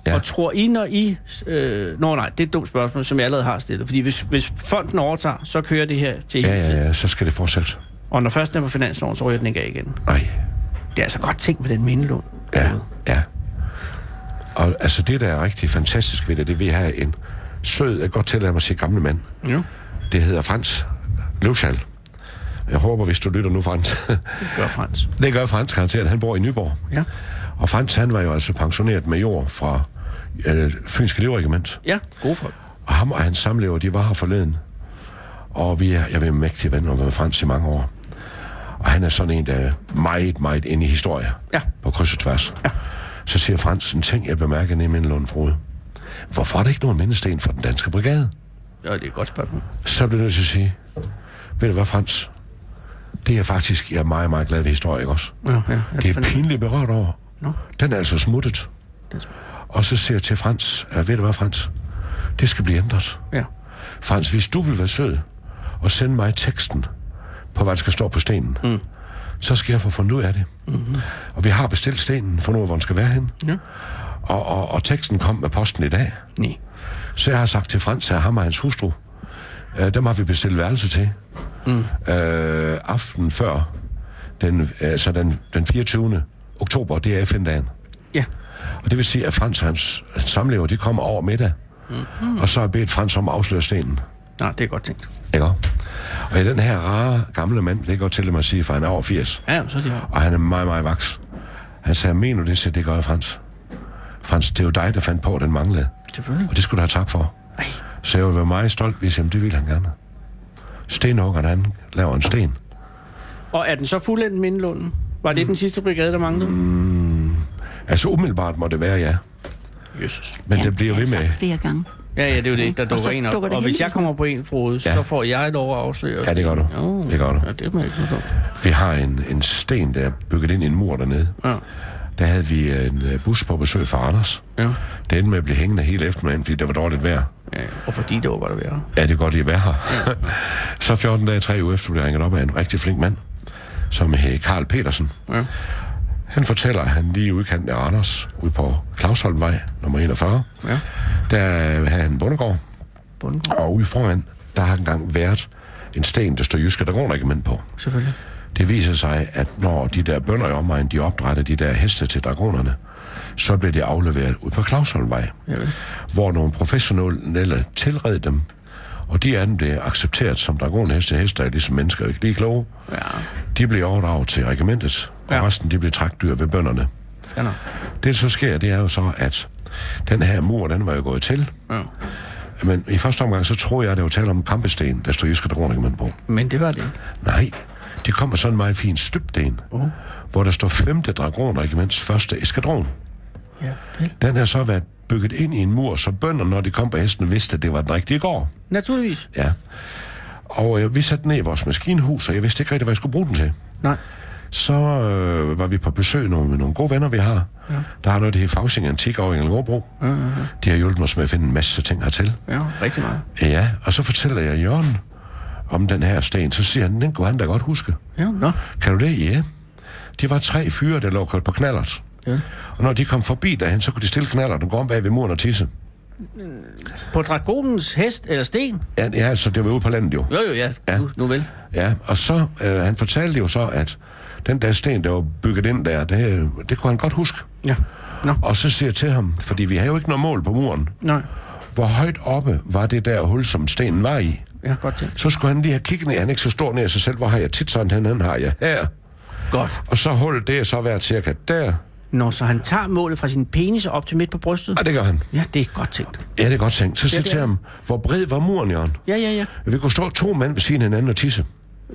Speaker 4: Ja.
Speaker 5: Ja.
Speaker 4: Og tror I, når I... Øh, nå nej, det er et dumt spørgsmål, som jeg allerede har stillet. Fordi hvis, hvis fonden overtager, så kører det her til
Speaker 5: Ja,
Speaker 4: hele tiden.
Speaker 5: ja, ja. Så skal det fortsætte.
Speaker 4: Og når først den er på finansloven, så ryger den ikke af igen.
Speaker 5: Nej.
Speaker 4: Det er altså godt tænkt med den mindelån.
Speaker 5: Ja, ja. Og altså det, der er rigtig fantastisk ved det, det er, at vi har en sød, jeg kan godt tillade mig at sige gamle mand.
Speaker 4: Ja.
Speaker 5: Det hedder Frans Løvschal. Jeg håber, hvis du lytter nu, Frans.
Speaker 4: Gør Frans.
Speaker 5: det gør Frans garanteret. Han bor i Nyborg.
Speaker 4: Ja.
Speaker 5: Og Frans, han var jo altså pensioneret major fra øh, Fynske Livregiment.
Speaker 4: Ja, gode folk.
Speaker 5: Og ham og hans samlever, de var her forleden. Og vi er, jeg ved mægtig ven og har været Frans i mange år. Og han er sådan en, der er meget, meget inde i historie.
Speaker 4: Ja.
Speaker 5: På kryds og tværs. Ja. Så siger Frans en ting, jeg bemærker nede i min Lundfrode. Hvorfor er der ikke nogen mindesten for den danske brigade?
Speaker 4: Ja, det er et godt spørgsmål.
Speaker 5: Så bliver jeg nødt til at sige, ved du hvad, Frans? Det er faktisk, jeg er meget, meget glad ved historie, ikke også?
Speaker 4: Ja, ja.
Speaker 5: det er pinligt berørt over.
Speaker 4: Altså, Nå.
Speaker 5: Den er altså smuttet. Og så siger jeg til Frans, ja, ved du hvad, Frans? Det skal blive ændret.
Speaker 4: Ja.
Speaker 5: Frans, hvis du vil være sød og sende mig teksten på, hvad der skal stå på stenen, mm. så skal jeg få fundet ud af det. Mm-hmm. Og vi har bestilt stenen, fundet ud af, hvor den skal være henne.
Speaker 4: Ja.
Speaker 5: Og, og, og teksten kom med posten i dag.
Speaker 4: Nej.
Speaker 5: Så jeg har sagt til Frans, at ham og hans hustru, øh, dem har vi bestilt værelse til. Mm. Øh, aften før, den, altså den, den 24. oktober, det er FN-dagen.
Speaker 4: Ja.
Speaker 5: Og det vil sige, at Frans og hans samlever, de kommer over middag. Mm-hmm. Og så har jeg bedt Frans om at afsløre stenen.
Speaker 4: Nej, det er godt tænkt.
Speaker 5: Ikke? Og i den her rare gamle mand, det kan jeg godt til mig at sige, for han er over 80,
Speaker 4: Ja, så er det her.
Speaker 5: og han er meget, meget vaks. Han sagde, mener du det, siger, det gør jeg, Frans. Frans, det er jo dig, der fandt på, at den manglede.
Speaker 4: Selvfølgelig.
Speaker 5: Og det skulle du have tak for.
Speaker 4: Ej.
Speaker 5: Så jeg vil være meget stolt, hvis jamen, det ville han gerne. Stenhuggeren, han laver en sten.
Speaker 4: Og er den så fuldendt mindelunden? Var det den sidste brigade, der manglede? Mm.
Speaker 5: Altså umiddelbart må det være, ja.
Speaker 4: Jesus.
Speaker 5: Men ja, altså. det bliver ved med.
Speaker 6: flere gange.
Speaker 4: Ja, ja, det er jo det, der
Speaker 6: så
Speaker 4: dukker en op.
Speaker 6: dukker det
Speaker 4: Mm. og hvis
Speaker 6: hele
Speaker 4: jeg
Speaker 6: tiden
Speaker 4: kommer på en frode, ja.
Speaker 5: Ja.
Speaker 4: så får jeg lov at afsløre.
Speaker 5: Ja, det gør du.
Speaker 4: Jo.
Speaker 5: Det gør du.
Speaker 4: Ja, det er man ikke noget dumt.
Speaker 5: Vi har en, en sten, der er bygget ind i en mur dernede.
Speaker 4: Ja.
Speaker 5: Der havde vi en øh, bus på besøg fra Anders.
Speaker 4: Ja.
Speaker 5: Det endte med at blive hængende hele eftermiddagen, fordi der var dårligt vejr.
Speaker 4: ja. Og fordi det var, hvad der værre.
Speaker 5: Ja, det er godt, I at være her. så 14 dage, 3 uger efter, blev jeg ringet op af en rigtig flink mand, som hed Karl Petersen.
Speaker 4: Ja.
Speaker 5: Han fortæller, at han lige i udkanten af Anders, ude på Clausholmvej, nummer 41,
Speaker 4: Ja.
Speaker 5: der havde han en bondegård,
Speaker 4: Bundgård.
Speaker 5: og ude foran, der har engang været en sten, der står jyske dragonregiment på.
Speaker 4: Selvfølgelig.
Speaker 5: Det viser sig, at når de der bønder i omegn, de opdrætter de der heste til dragonerne, så bliver de afleveret ud på Clausholmvej,
Speaker 4: Ja, vel.
Speaker 5: hvor nogle professionelle tilred dem, og de af dem blev accepteret som dragonheste. Heste er ligesom mennesker ikke lige kloge.
Speaker 4: Ja,
Speaker 5: De blev overdraget til regimentet, og
Speaker 4: Ja.
Speaker 5: resten de blev trækdyr ved bønderne.
Speaker 4: fair nok.
Speaker 5: Det, der så sker, det er jo så, at den her mur, den var jo gået til.
Speaker 4: Ja.
Speaker 5: Men i første omgang, så troede jeg, at det var tale om en kampesten, der stod Jyske Dragonregiment på.
Speaker 4: Men det var det ikke.
Speaker 5: Nej, det kommer sådan en meget fin støbden, uh. hvor der står 5. Dragonregiments første eskadron.
Speaker 4: Ja, vel.
Speaker 5: Den har så været bygget ind i en mur, så bønder, når de kom på hesten, vidste, at det var den rigtige gård.
Speaker 4: Naturligvis.
Speaker 5: Ja. Og øh, vi satte den ned i vores maskinhus, og jeg vidste ikke rigtig, hvad jeg skulle bruge den til.
Speaker 4: Nej.
Speaker 5: Så øh, var vi på besøg nogle, med nogle gode venner, vi har. Ja. Der har noget, der hedder Fausing Antik over i Engelbro. Ja, ja, ja. De har hjulpet os med at finde en masse ting hertil.
Speaker 4: Ja, rigtig meget.
Speaker 5: Ja, og så fortæller jeg Jørgen om den her sten. Så siger han, den kunne han da godt huske.
Speaker 4: Ja, nå.
Speaker 5: Kan du det? Ja. De var tre fyre, der lå kørt på knallert. Ja. Og når de kom forbi derhen, så kunne de stille knallerten og gå om bag ved muren og tisse.
Speaker 4: På dragonens hest eller sten?
Speaker 5: Ja, ja så det var ude på landet jo.
Speaker 4: Jo, jo, ja.
Speaker 5: Ja.
Speaker 4: Nu, nu vel.
Speaker 5: Ja, og så, øh, han fortalte jo så, at den der sten, der var bygget ind der, det, øh, det kunne han godt huske.
Speaker 4: Ja. Nå,
Speaker 5: Og så siger jeg til ham, fordi vi har jo ikke noget mål på muren,
Speaker 4: nej.
Speaker 5: hvor højt oppe var det der hul, som stenen var i.
Speaker 4: Ja, godt tænkt.
Speaker 5: Så skulle han lige have kigget ned, han er ikke så stor ned af sig selv, hvor har jeg tit sådan, han, han har jeg her.
Speaker 4: Godt.
Speaker 5: Og så hullet, det er så været cirka der.
Speaker 4: Nå, så han tager målet fra sin penis og op til midt på brystet?
Speaker 5: Og det gør han.
Speaker 4: Ja, det er godt tænkt.
Speaker 5: Ja, det er godt tænkt. Så siger jeg
Speaker 4: det
Speaker 5: til
Speaker 4: er
Speaker 5: ham, hvor bred var muren, Jørgen?
Speaker 4: Ja, ja, ja.
Speaker 5: Vi kunne stå to mænd ved siden af hinanden og tisse.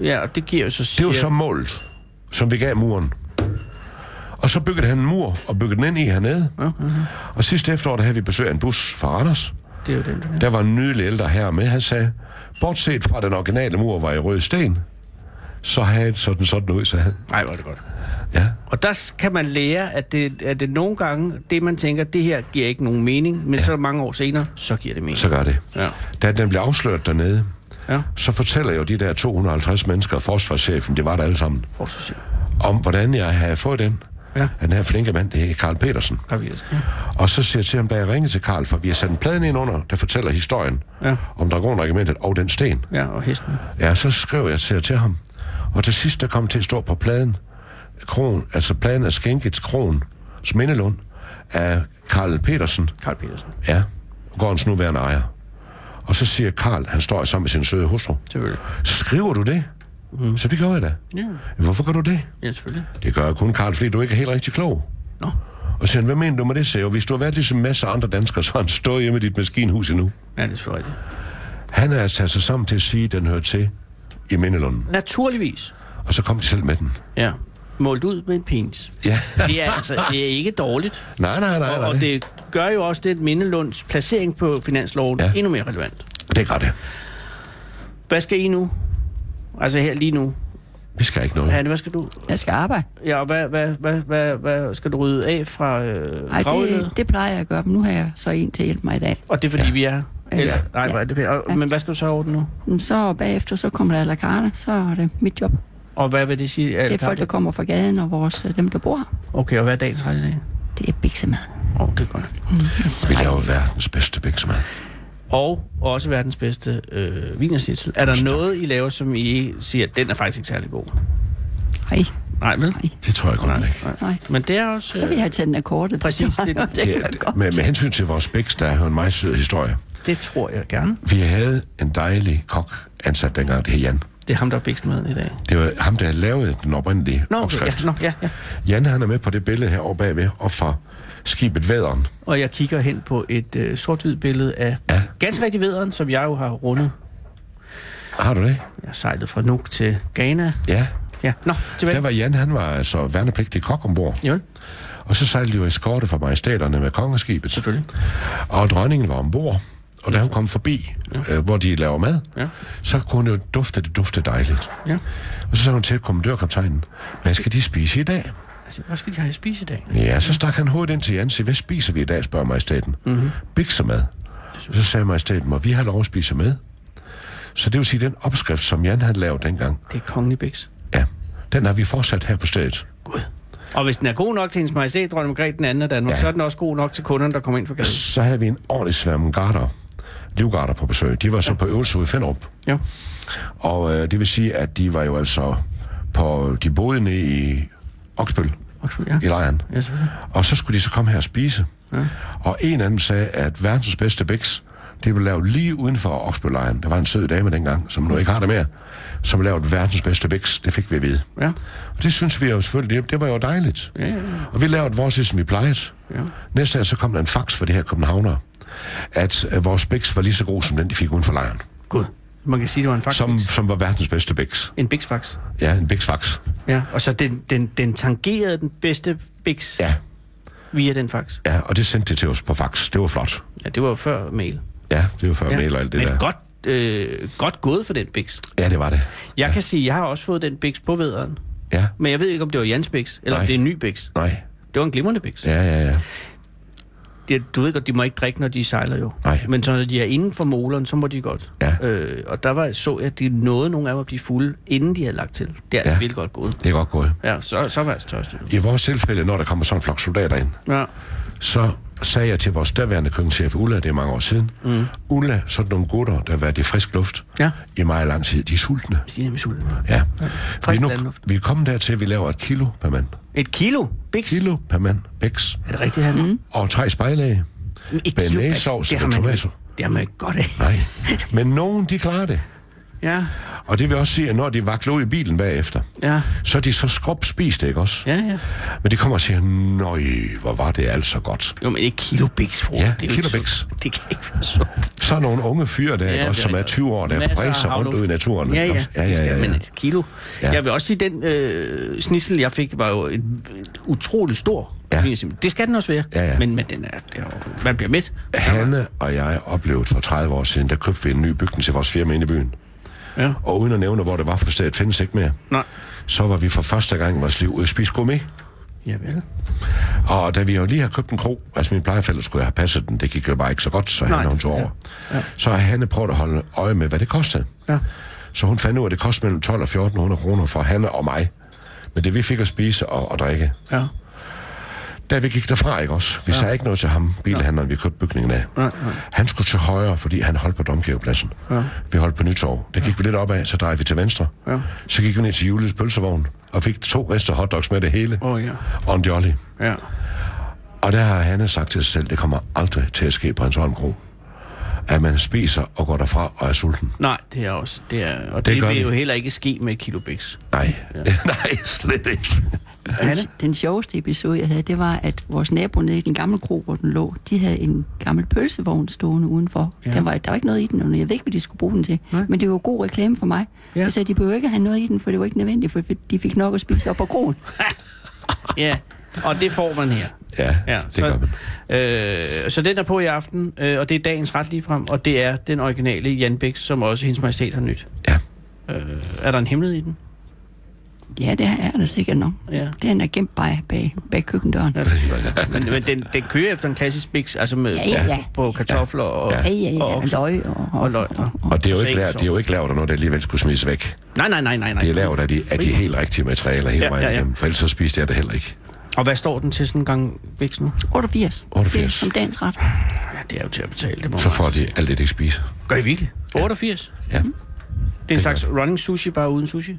Speaker 4: Ja, og det giver jo så
Speaker 5: Det var
Speaker 4: cirka-
Speaker 5: så målet, som vi gav muren. Og så byggede han en mur og byggede den ind i hernede.
Speaker 4: Ja, ja, ja.
Speaker 5: Og sidste efterår, der havde vi besøg af en bus fra Anders.
Speaker 4: Det er jo den, der.
Speaker 5: Der var en nydelig ældre her med. Han sagde, bortset fra den originale mur var i rød sten, så havde det sådan sådan ud, sagde han.
Speaker 4: Nej, hvor er det godt.
Speaker 5: Ja,
Speaker 4: Og der s- kan man lære, at det, at det nogle gange, det man tænker, det her giver ikke nogen mening, men ja. så mange år senere, så giver det mening.
Speaker 5: så gør det.
Speaker 4: Ja.
Speaker 5: Da den blev afsløret dernede,
Speaker 4: Ja,
Speaker 5: så fortæller jo de der 250 mennesker, forsvarschefen, det var der alle sammen,
Speaker 4: forsvarschef.
Speaker 5: om hvordan jeg havde fået den.
Speaker 4: Ja.
Speaker 5: Af Den her flinke mand, det er Karl Petersen.
Speaker 4: Carl Petersen. Ja.
Speaker 5: Og så siger jeg til ham, da jeg ringede til Karl, for vi har sat en plade ind under, der fortæller historien
Speaker 4: Ja.
Speaker 5: om dragonregimentet og den sten.
Speaker 4: ja, og hesten.
Speaker 5: Ja, så skrev jeg til, til ham. Og til sidst, der kom til at stå på pladen, kron, altså pladen af Skænkets Kron, Mindelund, af Karl Petersen,
Speaker 4: Karl Petersen,
Speaker 5: ja, gårdens nuværende ejer. Og så siger Karl, han står sammen med sin søde hustru,
Speaker 4: selvfølgelig.
Speaker 5: skriver du det? Mm. Så det gør jeg da.
Speaker 4: Ja,
Speaker 5: Hvorfor gør du det?
Speaker 4: ja selvfølgelig.
Speaker 5: Det gør jeg kun, Karl, fordi du ikke er helt rigtig klog.
Speaker 4: Nå.
Speaker 5: Og så siger han, hvad mener du med det, siger jeg, Hvis du har været ligesom masser af andre danskere, så har han stået hjemme i dit maskinhus endnu.
Speaker 4: Ja, det er selvfølgelig rigtigt.
Speaker 5: Han har altså taget sig sammen til at sige, at den hører til i Mindelunden.
Speaker 4: Naturligvis.
Speaker 5: Og så kom de selv med den.
Speaker 4: Ja. Målt ud med en penis.
Speaker 5: Ja.
Speaker 4: Det er altså det er ikke dårligt.
Speaker 5: Nej, nej, nej, nej.
Speaker 4: Og det gør jo også det Mindelunds placering på finansloven ja.
Speaker 5: Ja.
Speaker 4: endnu mere relevant.
Speaker 5: det gør det.
Speaker 4: Hvad skal I nu? Altså her lige nu.
Speaker 5: Vi skal ikke noget.
Speaker 4: Hanne, hvad skal du?
Speaker 6: Jeg skal arbejde.
Speaker 4: Ja, og hvad, hvad, hvad, hvad, hvad skal du rydde af fra øh,
Speaker 6: Ej,
Speaker 4: gravølet?
Speaker 6: det, det plejer jeg at gøre, men nu har jeg så en til at hjælpe mig i dag.
Speaker 4: Og det er fordi, ja. vi er her?
Speaker 6: Ja.
Speaker 4: Eller, nej,
Speaker 6: Ja.
Speaker 4: hvor er det pænt. Og,
Speaker 6: Ja.
Speaker 4: Men hvad skal du så ordne nu?
Speaker 6: Men Så bagefter, så kommer der alakarte, så er det mit job.
Speaker 4: Og hvad vil det sige?
Speaker 6: Det er folk, der kommer fra gaden, og vores, øh, dem, der bor her.
Speaker 4: Okay, og hvad er dagens ret i dag?
Speaker 6: Det er biksemad.
Speaker 4: Åh, oh, det er godt.
Speaker 6: Jeg
Speaker 5: Vi
Speaker 6: sprækker.
Speaker 5: laver verdens bedste bæksemad.
Speaker 4: Og også verdens bedste øh, vin og schnitzel. Er der noget, I laver, som I siger, den er faktisk ikke særlig god?
Speaker 6: Ej,
Speaker 4: Nej, vel?
Speaker 6: nej,
Speaker 5: Det tror jeg godt
Speaker 4: Nej,
Speaker 5: ikke.
Speaker 4: nej.
Speaker 6: nej.
Speaker 4: Men det er også...
Speaker 6: Så vil jeg have taget den akkorde.
Speaker 4: Præcis, det-
Speaker 6: det, det,
Speaker 5: Det,
Speaker 6: kan jeg
Speaker 5: det,
Speaker 6: godt.
Speaker 5: med, med hensyn til vores bæks, der er jo en meget sød historie.
Speaker 4: øh, Det tror jeg gerne.
Speaker 5: Vi havde en dejlig kok ansat dengang, det hed Jan.
Speaker 4: Det er ham, der er bækst med i dag.
Speaker 5: Det var ham, der lavede den oprindelige
Speaker 4: Nå, okay, ja,
Speaker 5: opskrift.
Speaker 4: nå, ja, ja.
Speaker 5: Jan, han er med på det billede her over bagved, og fra skibet Væderen.
Speaker 4: Og jeg kigger hen på et øh, sort-hvidt billede af
Speaker 5: Ja.
Speaker 4: ganske rigtig vederen, som jeg jo har rundet.
Speaker 5: Har du det?
Speaker 4: Jeg har sejlet fra Nuuk til Ghana.
Speaker 5: Ja.
Speaker 4: Ja, nå, tilbage.
Speaker 5: Der var Jan, han var altså værnepligtig kok ombord.
Speaker 4: Jo,
Speaker 5: Og så sejlede de jo eskorte fra majestæterne med kongeskibet.
Speaker 4: Selvfølgelig.
Speaker 5: Og dronningen var ombord, og da hun kom forbi, øh, hvor de laver mad,
Speaker 4: Ja.
Speaker 5: så kunne hun jo dufte, det dufte dejligt.
Speaker 4: ja.
Speaker 5: Og så sagde hun til kommandørkaptajnen, hvad skal de spise i dag?
Speaker 4: Altså, hvad skal de have at spise i dag?
Speaker 5: Ja, så stak han hovedet ind til Jan og sagde, hvad spiser vi i dag, spørger majestæten.
Speaker 4: Mhm.
Speaker 5: Mm-hmm. Biksemad. Så sagde majestæten, må vi have lov at spise med? Så det vil sige, den opskrift, som Jan havde lavet dengang,
Speaker 4: Det er kongelig bæks.
Speaker 5: ja, den har vi fortsat her på stedet.
Speaker 4: Gud. Og hvis den er god nok til hendes majestæt, dronning Margrethe den anden af Danmark, ja.
Speaker 5: Ja.
Speaker 4: så er den også god nok til kunderne, der kommer ind for gaden.
Speaker 5: Så havde vi en ordentlig sværm garter, livgarter på besøg. De var så på øvelse ude i Finderup.
Speaker 4: Jo.
Speaker 5: Og øh, det vil sige, at de var jo altså på... De boede nede i Oksbøl,
Speaker 4: Undskyld, Ja.
Speaker 5: i lejren.
Speaker 4: ja, selvfølgelig.
Speaker 5: Og så skulle de så komme her og spise. Ja. Og en af dem sagde, at verdens bedste bæks, det blev lavet lige uden for Oksbøllejren. Der var en sød dame dengang, som nu ikke har det mere, som lavede verdens bedste bæks. Det fik vi at vide.
Speaker 4: Ja.
Speaker 5: Og det synes vi jo selvfølgelig, det, det var jo dejligt.
Speaker 4: Ja, ja, ja.
Speaker 5: Og vi lavede vores, som vi plejede.
Speaker 4: Ja.
Speaker 5: Næste dag så kom der en fax fra de her københavnere, at øh, vores bæks var lige så god som den, de fik uden for lejren.
Speaker 4: Gud. Man kan sige, det var en fax.
Speaker 5: Som, som var verdens bedste bæks.
Speaker 4: En bæksfax.
Speaker 5: Ja, en bæksfax.
Speaker 4: Ja. Og så den, den, den tangerede den bedste bæks ja.
Speaker 5: Ja,
Speaker 4: via den fax.
Speaker 5: ja, og det sendte de til os på fax. Det var flot.
Speaker 4: Ja, det var jo før mail.
Speaker 5: Ja, det var før
Speaker 4: Ja.
Speaker 5: ja. mail og alt det
Speaker 4: Men
Speaker 5: der.
Speaker 4: godt, øh, godt gået for den bæks.
Speaker 5: Ja, det var det.
Speaker 4: Jeg ja. kan sige, jeg har også fået den bæks på vederen.
Speaker 5: Ja,
Speaker 4: Men jeg ved ikke, om det var Jans bæks, eller Nej. om
Speaker 5: Nej.
Speaker 4: det er en ny bæks.
Speaker 5: nej.
Speaker 4: Det var en glimrende bæks.
Speaker 5: Ja, ja, ja.
Speaker 4: Det, du ved godt, de må ikke drikke, når de sejler jo.
Speaker 5: Nej.
Speaker 4: Men så når de er inden for moleren, så må de godt.
Speaker 5: Ja.
Speaker 4: Øh, og der var, så jeg, at de nåede nogle af dem at blive fulde, inden de havde lagt til. Det er altså
Speaker 5: Ja.
Speaker 4: vildt godt gået.
Speaker 5: Det er godt gået.
Speaker 4: Ja, så, så var jeg altså tørstig.
Speaker 5: I vores tilfælde, når der kommer sådan en flok soldater ind,
Speaker 4: Ja.
Speaker 5: så sagde jeg til vores daværende køkkenchef Ulla, det er mange år siden, mm. Ulla, sådan nogle gutter, der har været i frisk luft
Speaker 4: Ja.
Speaker 5: i meget lang tid, de er sultne.
Speaker 4: De er nemlig sultne.
Speaker 5: Ja. Vi,
Speaker 4: frisk
Speaker 5: er nu,
Speaker 4: landluft.
Speaker 5: vi er kommet dertil, at vi laver et kilo per mand.
Speaker 4: Et kilo biks.
Speaker 5: Kilo per mand, bæks.
Speaker 4: Er det rigtigt, han? Mm.
Speaker 5: Og tre spejlæge.
Speaker 4: Et
Speaker 5: Bearnaisesauce
Speaker 4: det har
Speaker 5: og
Speaker 4: man,
Speaker 5: tomater.
Speaker 4: det har man ikke godt af.
Speaker 5: Nej. Men nogen, de klarer det.
Speaker 4: Ja,
Speaker 5: Og det vil også sige, at når de vakler ud i bilen bagefter,
Speaker 4: ja,
Speaker 5: så er de så skrubspist, ikke også?
Speaker 4: ja, ja.
Speaker 5: Men de kommer og siger, nøj, hvor var det altså godt.
Speaker 4: Jo, men et kilo biks, fru.
Speaker 5: Ja,
Speaker 4: det er jo ikke
Speaker 5: kilo
Speaker 4: sundt.
Speaker 5: biks.
Speaker 4: Det kan ikke være sundt.
Speaker 5: Så er nogle unge fyre der, ja, også,
Speaker 4: det
Speaker 5: som er
Speaker 4: rigtigt.
Speaker 5: 20 år, der
Speaker 4: Masser af
Speaker 5: fræser rundt
Speaker 4: havluft.
Speaker 5: ud i naturen.
Speaker 4: Ja,
Speaker 5: ikke
Speaker 4: ja,
Speaker 5: også? ja, ja, ja,
Speaker 4: Men
Speaker 5: ja.
Speaker 4: et kilo. Ja.
Speaker 5: Ja.
Speaker 4: Jeg vil også sige, den øh, snitsel, jeg fik, var jo en øh, utrolig stor.
Speaker 5: Ja.
Speaker 4: Ja. Det skal den også være.
Speaker 5: Ja, ja.
Speaker 4: Men, men den er, det er, jo- man bliver midt.
Speaker 5: Hanne og jeg oplevede for 30 år siden, der købte vi en ny bygning til vores firma inde i byen.
Speaker 4: Ja.
Speaker 5: Og uden at nævne, hvor det var for stedet, findes ikke mere.
Speaker 4: Nej.
Speaker 5: Så var vi for første gang i vores liv ude at spise gourmet.
Speaker 4: Ja, vel.
Speaker 5: Og da vi jo lige har købt en kro, altså min plejefælde skulle have passet den, det gik jo bare ikke så godt, så
Speaker 4: Nej.
Speaker 5: han hun tog
Speaker 4: Ja.
Speaker 5: over. Ja. Så har Hanne prøvet at holde øje med, hvad det kostede.
Speaker 4: Ja.
Speaker 5: Så hun fandt ud af, at det kostede mellem 12 og 1400 kroner for Hanne og mig. Men det vi fik at spise og, og drikke,
Speaker 4: Ja.
Speaker 5: Da vi gik derfra, ikke også? Vi ja. sagde ikke noget til ham, bilhandleren, vi købte bygningen af.
Speaker 4: Nej, nej.
Speaker 5: Han skulle til højre, fordi han holdt på Domkirkepladsen.
Speaker 4: Ja.
Speaker 5: Vi holdt på Nytorv. Der gik vi lidt opad, så drejede vi til venstre.
Speaker 4: Ja.
Speaker 5: Så gik vi ned til Julius pølsevogn, og fik to rester hotdogs med det hele.
Speaker 4: Åh, ja.
Speaker 5: Og en jolly.
Speaker 4: Ja.
Speaker 5: Og der har Hanne sagt til sig selv, det kommer aldrig til at ske på Hans Holmgro, at man spiser og går derfra og er sulten.
Speaker 4: Nej, det er også. Det er, og
Speaker 5: Det
Speaker 4: det,
Speaker 5: gør
Speaker 4: det vil
Speaker 5: vi.
Speaker 4: jo heller ikke ske med et kilo biks.
Speaker 5: Nej, ja. nej, slet ikke.
Speaker 4: Hanne?
Speaker 6: Den, den sjoveste episode, jeg havde, det var, at vores nabo nede i den gamle kro, hvor den lå, de havde en gammel pølsevogn stående udenfor.
Speaker 4: Ja.
Speaker 6: Ja. Den var, der var ikke noget i den, og jeg ved ikke, hvad de skulle bruge den til.
Speaker 4: Nej.
Speaker 6: Nej. Men det var god reklame for mig.
Speaker 4: Ja.
Speaker 6: Ja. Jeg sagde, de behøver ikke have noget i den, for det var ikke nødvendigt, for de fik nok at spise op på kroen.
Speaker 4: Ja, og det får man her.
Speaker 5: Ja,
Speaker 4: Ja,
Speaker 5: ja det så... gør man.
Speaker 4: Øh, så den er på i aften, øh, og det er dagens ret lige frem, og det er den originale Jan Bæks, som også hendes majestæt har nyt.
Speaker 5: Ja.
Speaker 4: Er der en hemmelighed i den?
Speaker 6: Ja, det er der sikkert nok.
Speaker 4: Ja.
Speaker 6: Den er gemt bag, bag, bag køkkendøren.
Speaker 4: Ja, det synes jeg godt. men, men den, den kører efter en klassisk biks, altså med,
Speaker 6: Ja, ja, ja.
Speaker 4: på kartofler og...
Speaker 6: Ja, ja, ja.
Speaker 4: Og
Speaker 6: Og
Speaker 4: okse.
Speaker 6: løg og,
Speaker 4: Og løg, ja.
Speaker 5: Og det er jo
Speaker 4: Så
Speaker 5: ikke,
Speaker 4: ikke
Speaker 5: lavet, det er jo ikke lavet af noget, der alligevel skulle smides væk.
Speaker 4: Nej, nej, nej, nej, nej.
Speaker 5: Det er lavet af de, af de
Speaker 4: Fri.
Speaker 5: helt rigtige materialer
Speaker 4: Ja,
Speaker 5: hele ja, vejen
Speaker 4: ja,
Speaker 5: ja,
Speaker 4: ja.
Speaker 5: igennem, for ellers så spiste jeg det heller ikke.
Speaker 4: Og hvad står den til sådan en gang biks nu?
Speaker 6: 88.
Speaker 5: 88.
Speaker 6: Det er som dagens ret.
Speaker 4: Ja, det er jo til at betale, det må
Speaker 5: Så
Speaker 4: man
Speaker 5: får
Speaker 4: altså
Speaker 5: de
Speaker 4: sige.
Speaker 5: alt det, de ikke spiser.
Speaker 4: Gør I virkelig? 88?
Speaker 5: Ja.
Speaker 4: Det er en slags running sushi, bare uden sushi.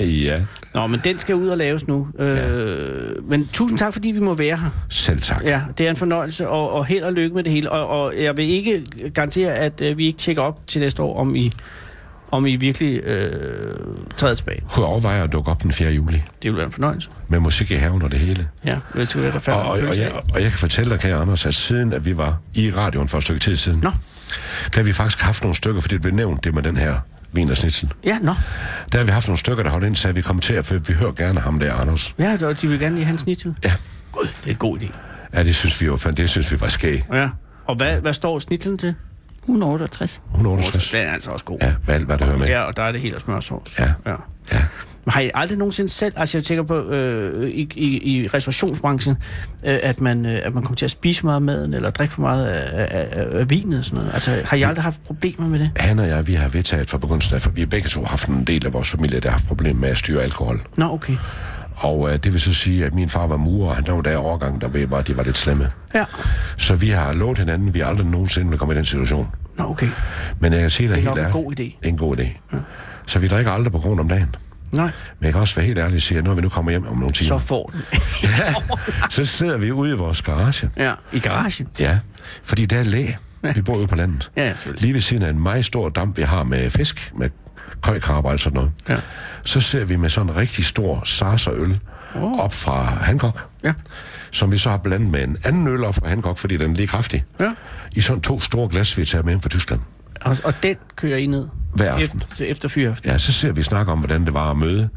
Speaker 5: ja.
Speaker 4: Nå, men den skal ud og laves nu. Øh, Men tusind tak, fordi vi må være her.
Speaker 5: Selv tak. Ja.
Speaker 4: Ja, det er en fornøjelse, og, og held og lykke med det hele. Og, og jeg vil ikke garantere, at øh, vi ikke tjekker op til næste år, om I, om I virkelig øh, træder tilbage.
Speaker 5: Kunne jeg overveje at dukke op den 4. juli
Speaker 4: Det vil være en fornøjelse.
Speaker 5: med musik i haven og det hele.
Speaker 4: Ja, hvis du er der
Speaker 5: Og,
Speaker 4: færdig.
Speaker 5: og, og, jeg, og jeg kan fortælle dig, kære Anders, at siden at vi var i radioen for et stykke tid siden,
Speaker 4: Nå.
Speaker 5: der har vi faktisk haft nogle stykker, fordi det blev nævnt, det med den her vin og snitsel.
Speaker 4: Ja, nå. for
Speaker 5: Der har vi haft nogle stykker, der holdt ind, så vi kom til at for vi hører gerne ham der, Anders.
Speaker 4: Ja, så de vil gerne lige have en snitsel.
Speaker 5: Ja.
Speaker 4: God, det er en god idé.
Speaker 5: Ja, det synes vi var fandt, det synes vi var skæg.
Speaker 4: Ja. Og hvad, hvad står snitselen til?
Speaker 6: 168.
Speaker 5: 168.
Speaker 4: Den er altså også god.
Speaker 5: Ja, med alt, hvad der hører med.
Speaker 4: Ja, og der er det helt og smørsovs.
Speaker 5: Ja.
Speaker 4: ja.
Speaker 5: Ja.
Speaker 4: Men har I aldrig nogensinde selv, altså jeg tænker på øh, i, i, i restaurationsbranchen, øh, at, man, øh, at man kommer til at spise for meget af maden, eller drikke for meget af, af, af, af vinet og sådan noget? Altså har I aldrig haft problemer med det?
Speaker 5: Han og jeg, vi har vedtaget fra begyndelsen af, for vi har begge to haft en del af vores familie, der har haft problemer med at styre alkohol.
Speaker 4: Nå, okay.
Speaker 5: Og øh, det vil så sige, at min far var murer, og han der var der i overgangen, der ved, var, de var lidt slemme.
Speaker 4: Ja.
Speaker 5: Så vi har lovet hinanden, vi aldrig nogensinde vil komme i den situation.
Speaker 4: Nå, okay.
Speaker 5: Men jeg kan sige dig
Speaker 4: Det er
Speaker 5: helt
Speaker 4: nok en
Speaker 5: ærligt.
Speaker 4: god idé.
Speaker 5: Det er en god idé. Ja. Så vi drikker aldrig på grund om dagen.
Speaker 4: Nej,
Speaker 5: Men jeg kan også være helt ærlig og sige, at når vi nu kommer hjem om nogle
Speaker 4: så
Speaker 5: timer,
Speaker 4: får den.
Speaker 5: så sidder vi ude i vores garage.
Speaker 4: ja. I garagen.
Speaker 5: Ja, fordi der er læ. Vi bor jo på landet.
Speaker 4: Ja, selvfølgelig.
Speaker 5: Lige ved siden af en meget stor dam, vi har med fisk, med køjkrabber og sådan noget.
Speaker 4: Ja.
Speaker 5: Så ser vi med sådan en rigtig stor sarserøl oh. op fra Hancock,
Speaker 4: Ja.
Speaker 5: som vi så har blandet med en anden øl op fra Hancock, fordi den er lige kraftig.
Speaker 4: Ja.
Speaker 5: I sådan to store glas, vi tager med hjem fra Tyskland.
Speaker 4: Og, og den kører I ned?
Speaker 5: Hver aften.
Speaker 4: Efter, efter fyraften.
Speaker 5: Ja, så ser vi snakke om, hvordan det var at møde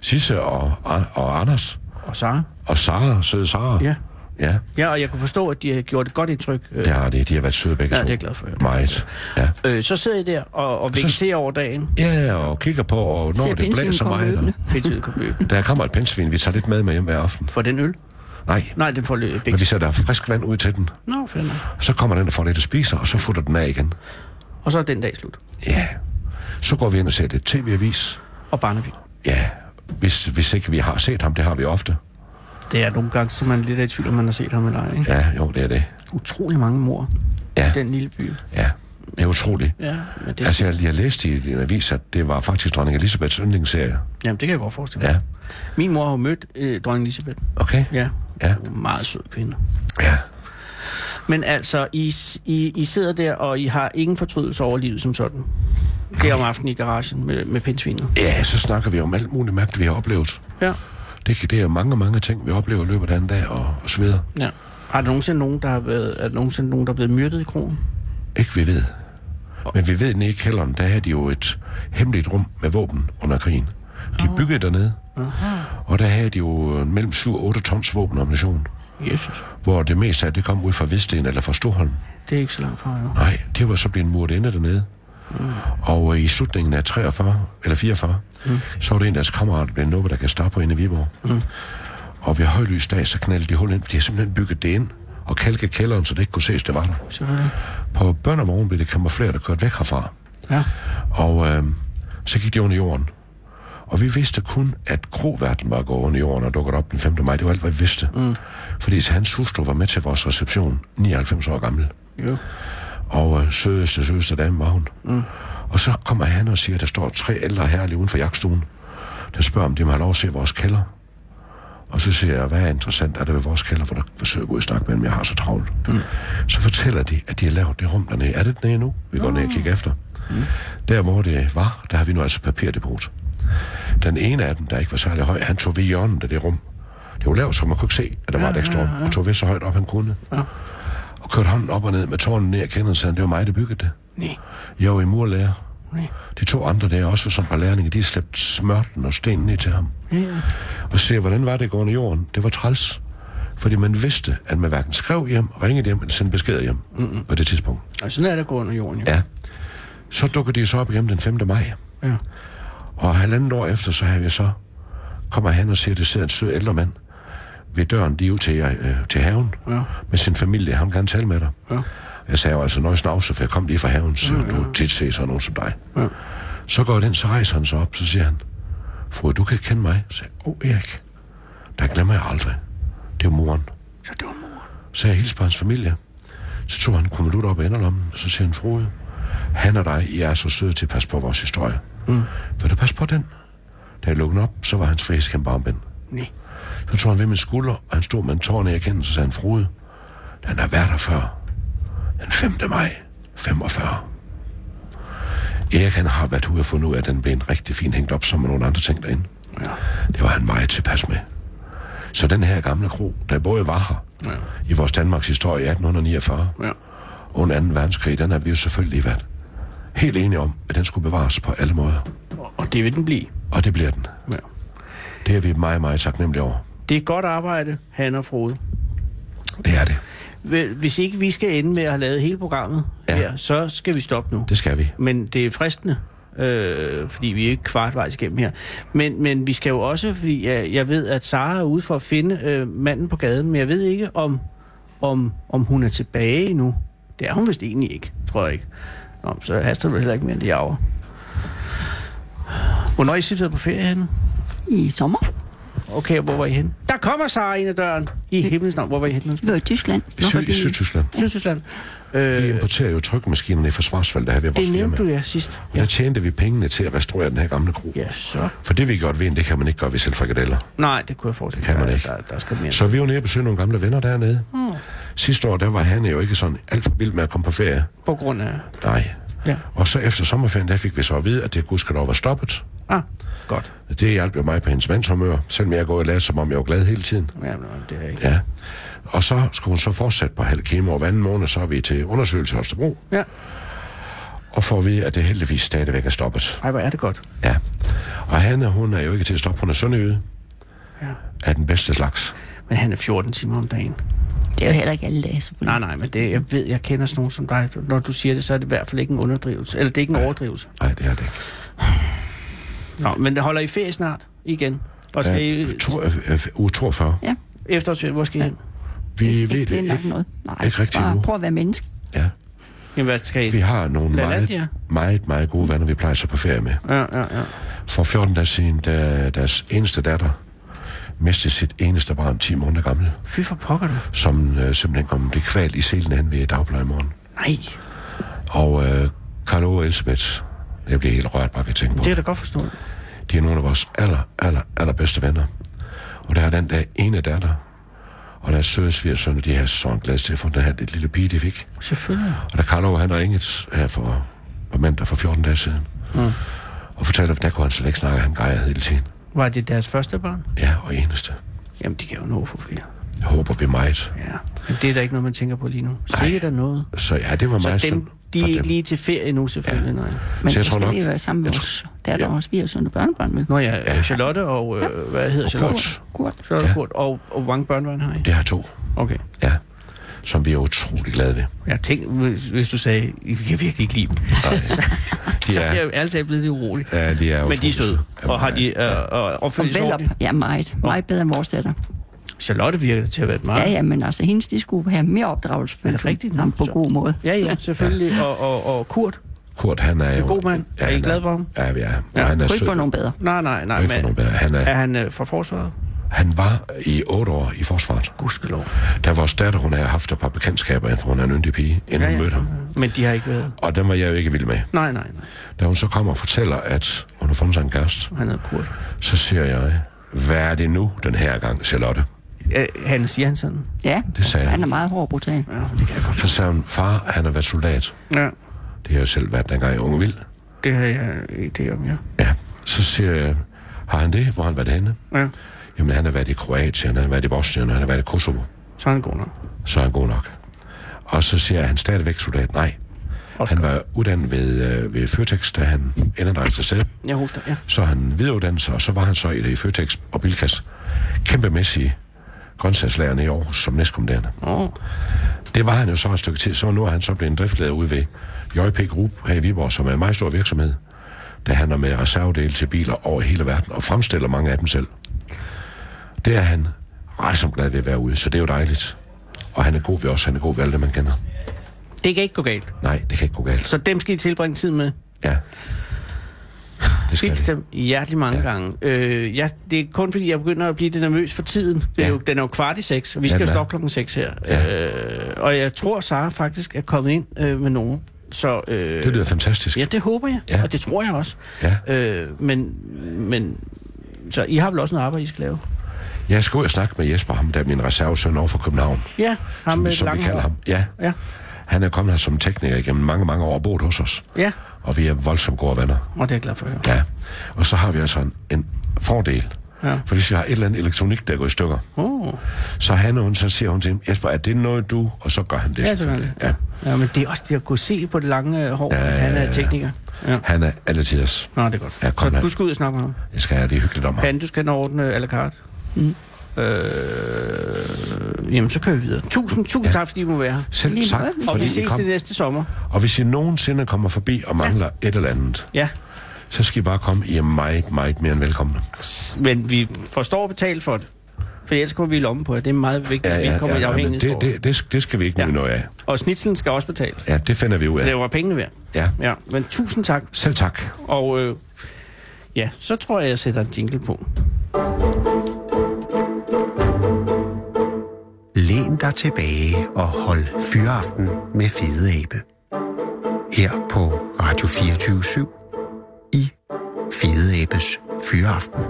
Speaker 5: Sisse og, og Anders
Speaker 4: Og Sara?
Speaker 5: og Sara, søde Sara.
Speaker 4: Ja.
Speaker 5: Ja,
Speaker 4: Ja, og jeg kunne forstå, at de har gjort et godt indtryk. Øh,
Speaker 5: det har de. De har været søde begge
Speaker 4: Ja,
Speaker 5: to.
Speaker 4: det er jeg glad for, ja.
Speaker 5: Meget. Ja.
Speaker 4: øh, så sidder I der og, og vegeterer over dagen.
Speaker 5: Ja, og kigger på, og når
Speaker 6: Ser
Speaker 5: det
Speaker 6: pindsvin
Speaker 5: blæser
Speaker 6: komme
Speaker 5: meget.
Speaker 6: løbende.
Speaker 5: og-
Speaker 4: Pindsvin kom løbende.
Speaker 5: Der kommer et pindsvin, vi tager lidt med med hjem hver aften.
Speaker 4: For den øl?
Speaker 5: Nej,
Speaker 4: Nej, den får lidt
Speaker 5: men vi
Speaker 4: biks.
Speaker 5: sætter frisk vand ud til den.
Speaker 4: Nå, fedt. nok.
Speaker 5: Så kommer den og får lidt at spise, og så futter den af igen.
Speaker 4: Og så er den dag slut.
Speaker 5: Ja. Så går vi ind og ser det tv-avis.
Speaker 4: Og Barnaby.
Speaker 5: Ja, hvis, hvis ikke vi har set ham, det har vi ofte.
Speaker 4: Det er nogle gange, så man er lidt er i tvivl, om man har set ham eller ej. Ikke?
Speaker 5: Ja, jo, det er det.
Speaker 4: Utrolig mange mor i
Speaker 5: Ja,
Speaker 4: den lille by.
Speaker 5: ja. Det er utroligt.
Speaker 4: Ja, men det,
Speaker 5: Altså, jeg, jeg læste i en avis, at det var faktisk dronning Elisabeths yndlingsserie.
Speaker 4: jamen, det kan jeg godt forestille mig.
Speaker 5: Ja,
Speaker 4: Ja. Min mor har jo mødt øh, dronning Elisabeth.
Speaker 5: okay.
Speaker 4: Ja.
Speaker 5: Ja.
Speaker 4: Hun er en Meget sød kvinde.
Speaker 5: Ja,
Speaker 4: Men altså, I, s- I, I sidder der, og I har ingen fortrydelse over livet som sådan. Det er om aftenen i garagen med, med pindsvinet.
Speaker 5: ja så snakker vi om alt muligt mærkeligt, vi har oplevet.
Speaker 4: Ja.
Speaker 5: Det, kan- det er mange, mange ting, vi oplever i løbet af en dag, og, og så videre.
Speaker 4: ja. Har der nogensinde nogen, der har været, er der nogensinde nogen, der er blevet myrdet i krogen?
Speaker 5: Ikke vi ved. Men vi ved nede i kælderen, der havde de jo et hemmeligt rum med våben under krigen. De byggede dernede, og der havde de jo øh, mellem 7 og 8 tons våben og ammunition,
Speaker 4: Jesus.
Speaker 5: hvor det meste af det kom ud fra Hvidsten eller fra Storholm.
Speaker 4: Det er ikke så langt fra, jo.
Speaker 5: Nej, det var så blevet muret inde dernede. Og øh, i slutningen af 43, eller 44, så var det en af deres kammerater, der blev nubbet, der kan starte på inde i Viborg. Og ved højlys dag, så knaldte de hul ind, for de havde simpelthen bygget det ind og kalket kælderen, så det ikke kunne ses, det var der.
Speaker 4: Selvfølgelig.
Speaker 5: På børnevognen blev det kamufleret og kørt væk herfra.
Speaker 4: Ja.
Speaker 5: Og øh, så gik de under jorden. Og vi vidste kun, at grovverden var gået under jorden og dukket op den 5. maj. Det var alt, hvad vi vidste. Mm. Fordi hans hustru var med til vores reception, 99 år gammel.
Speaker 4: Jo.
Speaker 5: Og øh, sødeste, sødeste dame var hun. Mm. Og så kommer han og siger, at der står tre ældre herrer lige uden for jagtstuen, der spørger, om de må have lov at se vores kælder. Og så siger jeg, hvad er interessant, er der ved vores kælder, hvor der forsøger at gå i snak med dem, jeg har så travlt. Mm. Så fortæller de, at de har lavet det rum dernede. Er det dernede nu? Vi går ned og kigger efter. Mm. Der, hvor det var, der har vi nu altså papirdepot. Den ene af dem, der ikke var særlig høj, han tog ved hjørnet af det rum. Det var lavt, så man kunne ikke se, at der var et ekstra rum. Og tog ved så højt op, han kunne. Og kørte hånden op og ned med tårnen ned og kendte, så det var mig, der byggede det.
Speaker 4: Nej.
Speaker 5: Jeg var i murlærer. De to andre der, også som par lærlinge, de slæbte smørten og stenen ned til ham. Ja. Og se, hvordan var det gående i jorden? Det var træls. Fordi man vidste, at man hverken skrev hjem, ringede hjem eller sendte beskeder hjem Mm-mm. på det tidspunkt.
Speaker 4: Og Altså, sådan er det gået under jorden, jo.
Speaker 5: Ja. Så dukker de så op igen den 5. maj.
Speaker 4: Ja.
Speaker 5: Og halvandet år efter, så har vi så, kommer han og siger, at det sidder en sød ældre mand ved døren lige ud til, jer, øh, til haven
Speaker 4: Ja.
Speaker 5: med sin familie. Han vil gerne tale med dig.
Speaker 4: Ja.
Speaker 5: Jeg sagde jo altså, nøjes navse, for jeg kom lige fra haven, så ja, ja. du tit se sådan nogen som dig. Ja. Så går den, så rejser han sig op, så siger han, fru, du kan ikke kende mig. Så jeg, åh oh, Erik, der glemmer jeg aldrig. Det er moren.
Speaker 4: Så det var mor.
Speaker 5: Så jeg hilste på hans familie. Så tog han en kommelut op af enderlommen, og så siger han, frue, han og dig, I er så søde til at passe på vores historie. Mm. Vil du passe på den? Da jeg lukkede den op, så var hans frihedskamp armbind.
Speaker 4: Nej.
Speaker 5: Så tog han ved min skulder, og han stod med en tårn i erkendelse, sagde han, frode, den har været der før. Den 5. maj, 45. Erik, han har været ude og fundet ud af, at den blev en rigtig fin hængt op, som nogle andre ting derinde.
Speaker 4: Ja.
Speaker 5: Det var han meget tilpas med. Så den her gamle kro, der både var her ja. i vores Danmarks historie i 1849
Speaker 4: Ja.
Speaker 5: under 2. verdenskrig, den har vi jo selvfølgelig været helt enige om, at den skulle bevares på alle måder.
Speaker 4: Og, og det vil den blive.
Speaker 5: Og det bliver den.
Speaker 4: Ja.
Speaker 5: Det er vi meget, meget taknemmelige over.
Speaker 4: Det er godt arbejde, han og Frode.
Speaker 5: Det er det.
Speaker 4: Vel, Hvis ikke vi skal ende med at have lavet hele programmet ja.
Speaker 5: Ja.
Speaker 4: her, så skal vi stoppe nu.
Speaker 5: Det skal vi.
Speaker 4: Men det er fristende, øh, fordi vi er ikke kvartvejs igennem her. Men, men vi skal jo også, fordi jeg, jeg ved, at Sara er ude for at finde øh, manden på gaden, men jeg ved ikke, om, om, om hun er tilbage endnu. Det er hun vist egentlig ikke, tror jeg ikke. Nå, så haster det vel heller ikke mere end det over. Hvornår er I sidst været på ferie henne?
Speaker 6: I sommer.
Speaker 4: Okay, hvor var I henne? Der kommer Sara ind ad døren. I himlens navn, hvor var I henne?
Speaker 6: Vi var i Tyskland.
Speaker 5: I, Sy- i Sydtyskland.
Speaker 4: Sydtyskland.
Speaker 5: Vi
Speaker 4: Øh,
Speaker 5: importerer jo trykmaskinerne i forsvarsfald, der her ved vores
Speaker 4: det
Speaker 5: firma.
Speaker 4: nævnte du ja sidst.
Speaker 5: Og der
Speaker 4: Ja,
Speaker 5: tjente vi pengene til at restaurere den her gamle kro.
Speaker 4: ja så.
Speaker 5: For det vi godt ved, det kan man ikke gøre ved selvfrikadeller.
Speaker 4: Nej, det kunne jeg forestille
Speaker 5: Det kan
Speaker 4: mig.
Speaker 5: man ikke.
Speaker 4: Der, der skal mere.
Speaker 5: Så vi var nede og besøge nogle gamle venner dernede. Mm. Sidste år, der var han jo ikke sådan alt for vild med at komme på ferie.
Speaker 4: På grund af...
Speaker 5: Nej.
Speaker 4: Ja.
Speaker 5: Og så efter sommerferien, der fik vi så at vide, at det gudskelov var stoppet.
Speaker 4: Ah, godt.
Speaker 5: Det hjalp jo mig på hendes mandshumør, selvom jeg går og lader, som om jeg var glad hele tiden.
Speaker 4: Ja, men det er ikke.
Speaker 5: Ja. Og så skulle hun så fortsætte på halv kemo, og hver anden måned, så er vi til undersøgelse i Holstebro,
Speaker 4: Ja.
Speaker 5: og får at vide, at det heldigvis stadigvæk er stoppet.
Speaker 4: Ej, hvor er det godt.
Speaker 5: Ja. Og Hanne, hun er jo ikke til at stoppe, hun er sønderjyde
Speaker 4: Ja.
Speaker 5: af den bedste slags.
Speaker 4: Men han er 14 timer om dagen.
Speaker 6: Det er jo heller ikke alle dage, selvfølgelig.
Speaker 4: Nej, nej, men det, jeg ved, jeg kender sådan nogen som dig. Når du siger det, så er det i hvert fald ikke en underdrivelse. Eller det er ikke en overdrivelse.
Speaker 5: Nej, det er det ikke.
Speaker 4: Nå, men holder I ferie snart igen? Og skal I...
Speaker 5: Ja, to, øh, øh, uge 42.
Speaker 6: Ja,
Speaker 4: Efterårsferie, hvor skal I hen?
Speaker 5: Vi ved
Speaker 6: ikke
Speaker 5: det
Speaker 6: planlagt
Speaker 5: ikke.
Speaker 6: noget. Nej,
Speaker 5: Ikke rigtig
Speaker 6: bare
Speaker 5: endnu.
Speaker 6: prøv at være menneske.
Speaker 5: Ja.
Speaker 4: Jamen, hvad skal I?
Speaker 5: Vi har nogle meget,
Speaker 4: Lalandia.
Speaker 5: meget, meget gode venner, vi plejer at tage på ferie med.
Speaker 4: Ja, ja, ja.
Speaker 5: For 14 dage siden, da deres eneste datter mistede sit eneste barn, 10 måneder gammel,
Speaker 4: Fy for pokker du.
Speaker 5: som øh, simpelthen kom blev kvalt i selen hen ved dagplejemorgen.
Speaker 4: Nej,
Speaker 5: Og øh, Carlo og Elisabeth, jeg bliver helt rørt bare ved at tænke på
Speaker 4: det er
Speaker 5: det.
Speaker 4: da godt forstået.
Speaker 5: De er nogle af vores aller, aller, allerbedste venner. Og der er den der ene datter, og deres søde svigersønner, de har så glædet til at få den her lille pige, de fik.
Speaker 4: Selvfølgelig.
Speaker 5: Og da Carlo han ringet her for, på mandag for 14 dage siden, mm. og fortalte, at der kunne han slet ikke snakke, han grejede hele tiden.
Speaker 4: Var det deres første barn?
Speaker 5: Ja, og eneste.
Speaker 4: Jamen, de kan jo nå for flere.
Speaker 5: Jeg håber vi meget.
Speaker 4: Ja, men det er da ikke noget, man tænker på lige nu. Sikkert der noget.
Speaker 5: Så ja, det var
Speaker 4: Så
Speaker 5: meget
Speaker 4: dem,
Speaker 5: synd
Speaker 4: de
Speaker 5: for
Speaker 4: er
Speaker 5: dem.
Speaker 4: ikke lige til ferie nu, selvfølgelig. Nej.
Speaker 6: Men
Speaker 5: Så
Speaker 6: så,
Speaker 5: jeg tror
Speaker 6: skal
Speaker 5: nok-
Speaker 6: vi jo være sammen med os. Der er der også, vi har sunde børnebørn, vel?
Speaker 4: Nå ja, ja. Charlotte og... Øh, hvad hedder Charlotte?
Speaker 5: Kurt.
Speaker 6: Kurt.
Speaker 4: Charlotte ja.
Speaker 5: Ja.
Speaker 4: Kurt. Og, og hvor mange børnebørn har I?
Speaker 5: Det har to,
Speaker 4: Okay.
Speaker 5: ja. Som vi er utrolig glade ved.
Speaker 4: Jeg tænkte, hvis, hvis du sagde, I kan virkelig ikke lide dem. Så er
Speaker 5: er-
Speaker 4: jeg jo altid blevet lidt urolig.
Speaker 5: Ja, de er
Speaker 4: Men de er
Speaker 5: utrolig
Speaker 4: søde,
Speaker 5: Jamen,
Speaker 4: og har
Speaker 5: ja.
Speaker 4: de øh, og
Speaker 6: Og
Speaker 4: opført sig
Speaker 6: vel op.
Speaker 4: ordentligt.
Speaker 6: Ja, meget. Meget bedre end vores datter.
Speaker 4: Charlotte virker til at være et meget...
Speaker 6: Ja, ja, men altså, hendes, de skulle have mere opdragelse.
Speaker 4: Er det rigtigt?
Speaker 6: Jamen, på
Speaker 4: Så-
Speaker 6: god måde.
Speaker 4: ja, ja selvfølgelig. Og, og, og Kurt,
Speaker 5: Kurt, han er jo...
Speaker 4: god mand. Er I
Speaker 5: han
Speaker 4: glade for ham?
Speaker 5: Ja, vi er. Og
Speaker 4: Ja,
Speaker 5: han er
Speaker 6: Kunne ikke
Speaker 5: sød.
Speaker 6: få nogen bedre.
Speaker 4: nej, nej, nej.
Speaker 5: Kunne ikke få nogen
Speaker 4: Men,
Speaker 5: bedre. Han,
Speaker 4: er
Speaker 5: er,
Speaker 4: han øh, fra forsvaret?
Speaker 5: han var i otte år i forsvaret.
Speaker 4: Gudskelov.
Speaker 5: Da vores datter, hun har haft et par bekendtskaber, for hun er en yndig pige, inden ja, ja. hun mødte ham.
Speaker 4: Men de har ikke været...
Speaker 5: Og den var jeg jo ikke vild med.
Speaker 4: Nej, nej, nej.
Speaker 5: Da hun så kommer og fortæller, at hun har fundet sig en kæreste,
Speaker 4: Han hedder Kurt.
Speaker 5: så siger jeg, Hvad er det nu, den her gang, Charlotte?
Speaker 4: Øh, han siger han sådan.
Speaker 6: Ja,
Speaker 5: Det sagde
Speaker 6: han er
Speaker 5: han.
Speaker 6: meget hård og brutal.
Speaker 5: Så sagde hun, far, han har været soldat.
Speaker 4: Ja,
Speaker 5: Det har jeg selv været, dengang jeg var ung vild.
Speaker 4: det har jeg idé om, ja.
Speaker 5: Ja, så siger jeg, har han det? Hvor har han været henne?
Speaker 4: ja.
Speaker 5: Jamen, han har været i Kroatien, han har været i Bosnien, han har været i Kosovo.
Speaker 4: Så er han god nok.
Speaker 5: Så er han god nok. Og så siger jeg, han er stadigvæk soldat. Nej,
Speaker 4: Oscar.
Speaker 5: han var uddannet ved, øh, ved Føtex, da han indendrejste sig selv.
Speaker 4: Jeg hoster, ja.
Speaker 5: Så han videreuddannet sig, og så var han så i det i Føtex og Bilkas. Kæmpemæssige grøntsagslærerne i år som næstkommanderende.
Speaker 4: Oh.
Speaker 5: Det var han jo så et stykke tid, så nu er han så blevet en driftleder ude ved JP Group her i Viborg, som er en meget stor virksomhed, der handler med reservedele til biler over hele verden og fremstiller mange af dem selv. Det er han ret som glad ved at være ude, så det er jo dejligt. Og han er god ved os, han er god ved alle dem, man kender.
Speaker 4: Det kan ikke gå galt.
Speaker 5: Nej, det kan ikke gå galt.
Speaker 4: Så dem skal I tilbringe tid med.
Speaker 5: Ja. Det skal
Speaker 4: Dels
Speaker 5: det.
Speaker 4: dem hjertelig mange ja.
Speaker 5: Ja.
Speaker 4: gange. Øh, jeg, det er kun fordi, jeg begynder at blive lidt nervøs for tiden. Det er ja.
Speaker 5: Ja.
Speaker 4: jo, den er jo kvart i seks, og vi skal
Speaker 5: den
Speaker 4: jo
Speaker 5: er.
Speaker 4: stoppe klokken seks her.
Speaker 5: Ja.
Speaker 4: Øh, og jeg tror, Sara faktisk er kommet ind øh, med nogen. Så, øh,
Speaker 5: Det lyder fantastisk.
Speaker 4: Ja, det håber jeg, ja.
Speaker 5: Ja.
Speaker 4: og det tror jeg også.
Speaker 5: Ja.
Speaker 4: Øh, men, men, så I har vel også noget arbejde, I skal lave?
Speaker 5: Jeg skal ud og snakke med Jesper, ham der er min reservesøn over for København.
Speaker 4: Ja, ham med
Speaker 5: som, som vi
Speaker 4: lange
Speaker 5: kalder
Speaker 4: hår.
Speaker 5: ham. Ja.
Speaker 4: Ja,
Speaker 5: Han er kommet her som tekniker igennem mange, mange år og boet hos os.
Speaker 4: ja,
Speaker 5: Og vi er voldsomt gode venner.
Speaker 4: og det er jeg glad for at høre.
Speaker 5: Ja, og så har vi altså en, en fordel.
Speaker 4: Ja.
Speaker 5: For hvis vi har et eller andet elektronik, der går i stykker,
Speaker 4: Oh.
Speaker 5: så, han, hun, så siger hun til ham, Jesper, er det noget du? Og så gør han det.
Speaker 4: Ja,
Speaker 5: selvfølgelig.
Speaker 4: selvfølgelig. Ja, men det er også det at kunne se på det lange øh, hår, ja, at han
Speaker 5: ja,
Speaker 4: er
Speaker 5: ja.
Speaker 4: tekniker. Ja.
Speaker 5: Han er alle tiders.
Speaker 4: Nå, det er godt.
Speaker 5: Ja, kom
Speaker 4: så
Speaker 5: her.
Speaker 4: du skal ud og snakke med ham.
Speaker 5: Jeg skal have det hyggeligt om ham.
Speaker 4: Han, du skal ind og ordne à la carte. Mm. Øh, jamen, så kører vi videre. Tusind, tusind ja. tak, fordi I må være her.
Speaker 5: Selv
Speaker 6: Lige
Speaker 5: tak,
Speaker 6: måde.
Speaker 4: Og
Speaker 5: fordi
Speaker 4: vi
Speaker 5: I
Speaker 4: ses
Speaker 5: kom.
Speaker 4: det næste sommer.
Speaker 5: Og hvis I nogensinde kommer forbi og mangler et eller andet,
Speaker 4: Ja,
Speaker 5: så skal I bare komme. I er meget, meget mere end velkomne.
Speaker 4: men vi forstår at betale for det. For ellers kommer vi i lommen på jer. Det er meget vigtigt, at vi ikke kommer i
Speaker 5: men det,
Speaker 4: afhængighedsforhold.
Speaker 5: det, det, det skal vi ikke
Speaker 4: Ja.
Speaker 5: ja. noget af.
Speaker 4: Og snitselen skal også betales.
Speaker 5: Ja, det finder vi ud
Speaker 4: Det
Speaker 5: af.
Speaker 4: var pengene værd.
Speaker 5: Ja.
Speaker 4: Ja, men tusind tak.
Speaker 5: Selv tak.
Speaker 4: Og øh, ja, så tror jeg, jeg sætter en jingle på.
Speaker 3: Læn dig tilbage og hold fyraften med Fede Abe. Her på Radio 24 i Fede Abes Fyraften.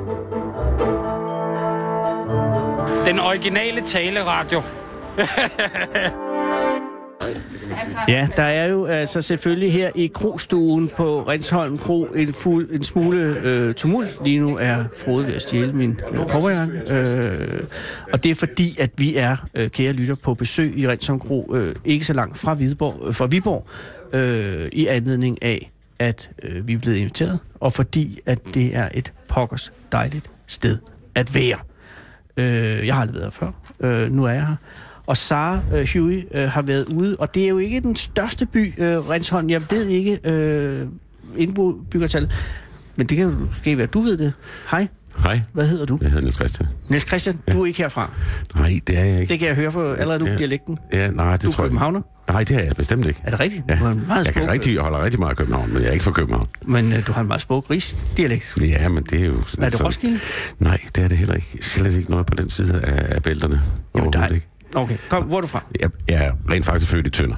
Speaker 2: Den originale taleradio.
Speaker 4: Ja, der er jo altså selvfølgelig her i krogstuen på Rinsholm Kro en, fuld, en smule øh, tumult. Lige nu er Frode ved at stjæle min øh, kobberjakke. Øh, og det er fordi, at vi er, øh, kære lytter, på besøg i Rinsholm Kro, øh, ikke så langt fra, Hvidborg, øh, fra Viborg, øh, i anledning af, at øh, vi er blevet inviteret, og fordi, at det er et pokkers dejligt sted at være. Øh, jeg har aldrig været her før. Øh, nu er jeg her. Og Sara øh, Huey øh, har været ude, og det er jo ikke den største by, øh, Rensholm. Jeg ved ikke øh, indbyggertallet, men det kan jo måske være, du ved det. Hej,
Speaker 7: Hej,
Speaker 4: hvad hedder du?
Speaker 7: jeg hedder Niels Christian.
Speaker 4: Niels Christian, ja. du er ikke herfra.
Speaker 7: Nej, det er jeg ikke.
Speaker 4: Det kan jeg høre på allerede nu på
Speaker 7: Ja.
Speaker 4: dialekten.
Speaker 7: Ja, nej, det
Speaker 4: Du er
Speaker 7: tror jeg ikke.
Speaker 4: københavner?
Speaker 7: Nej, det er jeg bestemt ikke.
Speaker 4: Er det rigtigt?
Speaker 7: Ja.
Speaker 4: Du har en meget
Speaker 7: jeg, kan
Speaker 4: smuk-
Speaker 7: rigtig, jeg holder rigtig meget af København, men jeg er ikke fra København.
Speaker 4: Men øh, du har en meget smuk rigsdialekt.
Speaker 7: Ja, men det er jo...
Speaker 4: Er det Roskilde?
Speaker 7: Nej, det er det heller ikke. Slet ikke noget på den side af, af bælterne.
Speaker 4: Jamen, der
Speaker 7: Overhovedet
Speaker 4: er...
Speaker 7: ikke.
Speaker 4: Okay, kom, hvor er du fra?
Speaker 7: Jeg, jeg er rent faktisk født i Tønder.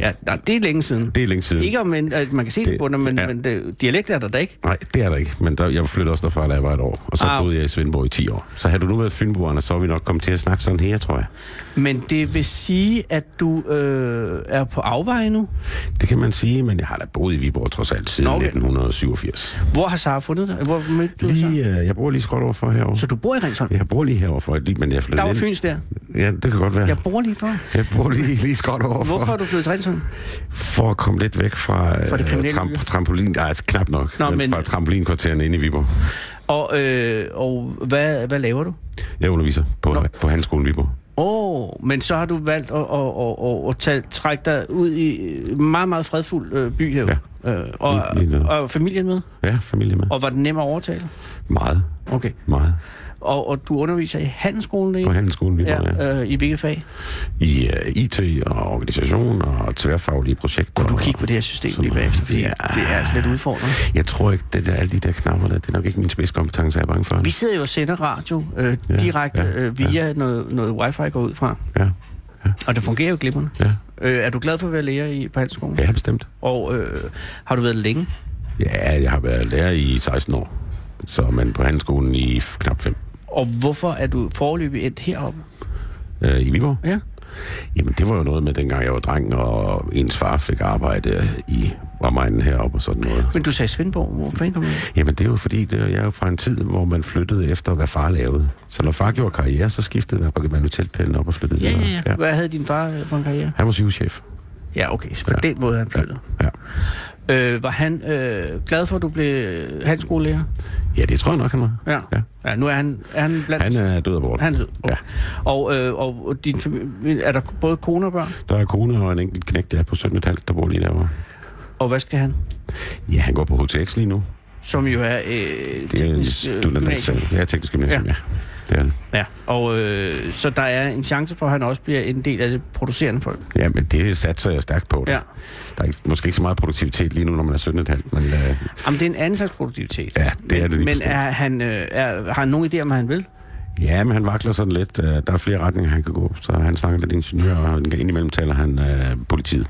Speaker 4: Ja, nej, det er længe siden.
Speaker 7: Det er længe siden.
Speaker 4: Ikke om, en, at man kan se det, det
Speaker 7: Det-
Speaker 4: på dig, men, ja.
Speaker 7: ja.
Speaker 4: men det, dialekt er der da ikke.
Speaker 7: Nej, det er der ikke. Men der, jeg flyttede også derfra, da jeg var et år. Og så
Speaker 4: Ah.
Speaker 7: ah. boede jeg i Svendborg i 10 år. Så havde du nu været fynboerne, så var vi nok kommet til at snakke sådan her, tror jeg.
Speaker 4: Men det vil sige, at du øh, er på afveje nu?
Speaker 7: Det kan man sige, men jeg har da boet i Viborg trods alt siden
Speaker 4: Nå, okay.
Speaker 7: okay. 1987.
Speaker 4: Hvor har Sara fundet dig? Hvor mødte du hende så?
Speaker 7: Lige, øh, jeg bor lige skråt overfor herovre.
Speaker 4: Så du bor i Ringsholm? Ja.
Speaker 7: Jeg bor lige herovre for, lige, men jeg flyttede
Speaker 4: Der var
Speaker 7: ind-
Speaker 4: Fyns der.
Speaker 7: Ja, det kan godt være.
Speaker 4: Jeg bor lige for.
Speaker 7: Jeg bor lige, lige skråt overfor.
Speaker 4: Hvorfor er du flyttet til Ringsholm?
Speaker 7: For at komme lidt væk fra,
Speaker 4: Fra det
Speaker 7: øh,
Speaker 4: kriminelle miljø.
Speaker 7: tramp- trampolin... Nej, altså, knap nok.
Speaker 4: Nå,
Speaker 7: Nå, men,
Speaker 4: men-
Speaker 7: Fra trampolinkvarteren inde i Viborg.
Speaker 4: Og, øh, og hvad, hvad laver du?
Speaker 7: Jeg underviser på,
Speaker 4: Nå.
Speaker 7: på Handskolen Viborg.
Speaker 4: Åh, oh, men så har du valgt at, at, at, at, at tage, trække dig ud i en meget, meget fredfuld øh, by her. Ja. Øh, og,
Speaker 7: Lige- lige netop.
Speaker 4: og familien med?
Speaker 7: Ja, familie med.
Speaker 4: Og var den nem at overtale?
Speaker 7: Meget,
Speaker 4: Okay.
Speaker 7: meget.
Speaker 4: Og, og du underviser i handelsskolen lige?
Speaker 7: På Handelsskolen Viborg, ja.
Speaker 4: Ja, øh, i hvilket fag?
Speaker 7: I uh, IT og organisation og tværfaglige projekter.
Speaker 4: Kunne du
Speaker 7: og-
Speaker 4: kigge på det her system
Speaker 7: sådan
Speaker 4: lige
Speaker 7: noget.
Speaker 4: bagefter? Fordi
Speaker 7: Ja.
Speaker 4: det er altså lidt udfordrende.
Speaker 7: Jeg tror ikke, det der, alle de der knapper der, det er nok ikke min spidskompetence, jeg er bange for.
Speaker 4: Vi sidder jo og sender radio øh,
Speaker 7: Ja,
Speaker 4: direkte
Speaker 7: ja,
Speaker 4: øh, via noget, noget wifi går ud fra.
Speaker 7: Ja,
Speaker 4: Og det fungerer jo glimrende.
Speaker 7: ja.
Speaker 4: Øh, er du glad for at være lærer i, på handelsskolen?
Speaker 7: Ja, jeg har bestemt.
Speaker 4: Og øh, har du været det længe?
Speaker 7: Ja, jeg har været lærer i 16 år. så men på handelsskolen i f- knap fem
Speaker 4: Og hvorfor er du forløbig endt heroppe?
Speaker 7: øh, i Viborg.
Speaker 4: Ja.
Speaker 7: Jamen, det var jo noget med, dengang jeg var dreng, og ens far fik arbejde i omegnen heroppe og sådan noget.
Speaker 4: Men du sagde Svendborg. Hvor fanden kom du?
Speaker 7: Jamen, det er jo fordi, det, jeg er jo fra en tid, hvor man flyttede efter, hvad far lavede. Så når far gjorde karriere, så skiftede man, og man jo teltpælene op og flyttede
Speaker 4: Ja,
Speaker 7: videre.
Speaker 4: ja, ja. Hvad havde din far øh, for en karriere?
Speaker 7: Han var sygeschef.
Speaker 4: Ja, okay. Så på ja. den måde er han flyttet.
Speaker 7: Ja.
Speaker 4: Øh, var han øh, glad for, at du blev øh, handelsskolelærer?
Speaker 7: ja, det tror jeg nok, han var.
Speaker 4: Ja.
Speaker 7: Ja.
Speaker 4: ja. Nu er han, er han blandt...
Speaker 7: Han er død og bort.
Speaker 4: han er død.
Speaker 7: Ja.
Speaker 4: Okay. Og, øh, og din familie, er der både kone og børn?
Speaker 7: Der er kone og en enkelt knægt, der er på 17,5, der bor lige derovre.
Speaker 4: Og hvad skal han?
Speaker 7: Ja, han går på HTX lige nu.
Speaker 4: Som jo er øh,
Speaker 7: Det er en
Speaker 4: teknisk øh, gymnasium.
Speaker 7: studentereksamen. Ja, teknisk gymnasium, ja. ja. Det er det.
Speaker 4: Ja. Og øh, så der er en chance for, at han også bliver en del af det producerende folk.
Speaker 7: Ja, men det satser jeg stærkt på.
Speaker 4: Ja.
Speaker 7: Der er ikke, måske ikke så meget produktivitet lige nu, når man er 17,5, men øh,
Speaker 4: Jamen, det er en anden slags produktivitet.
Speaker 7: Ja, det er det lige
Speaker 4: Men
Speaker 7: bestemt.
Speaker 4: er han, øh, er, har han nogen idé om, hvad han vil?
Speaker 7: ja, men han vakler sådan lidt. Øh, der er flere retninger, han kan gå. Så han snakker lidt ingeniør, og han- indimellem taler han øh, politiet.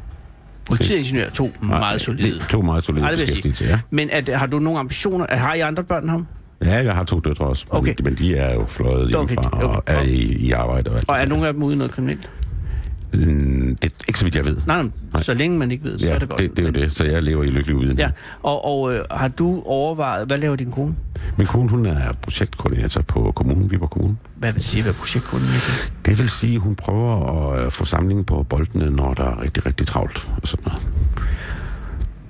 Speaker 4: Politiingeniør to meget solide.
Speaker 7: Det, to meget solide
Speaker 4: Ej, det vil jeg sige.
Speaker 7: beskæftigelser, ja.
Speaker 4: Men er, det- har du nogle ambitioner? Er, har I andre børn end ham?
Speaker 7: Ja, jeg har to døtre også, men,
Speaker 4: Okay.
Speaker 7: men de er jo fløjet
Speaker 4: Okay,
Speaker 7: hjemmefra okay. og
Speaker 4: okay.
Speaker 7: er i, i arbejde og alt
Speaker 4: Og er
Speaker 7: det der.
Speaker 4: nogle af dem ude i noget kriminelt?
Speaker 7: Mm, det er ikke så vidt, jeg ved.
Speaker 4: Nej, nej, nej. så længe man ikke ved, så
Speaker 7: ja,
Speaker 4: er det godt.
Speaker 7: Det, det er jo det, så jeg lever i lykkelig uden.
Speaker 4: Ja, og, og øh, har du overvejet, hvad laver din kone?
Speaker 7: Min kone, hun er projektkoordinator på kommunen, Viborg Kommune.
Speaker 4: Hvad vil det sige, hvad projektkunden er?
Speaker 7: Det vil sige, at hun prøver at øh, få samlingen på boldene, når der er rigtig, rigtig travlt og sådan noget.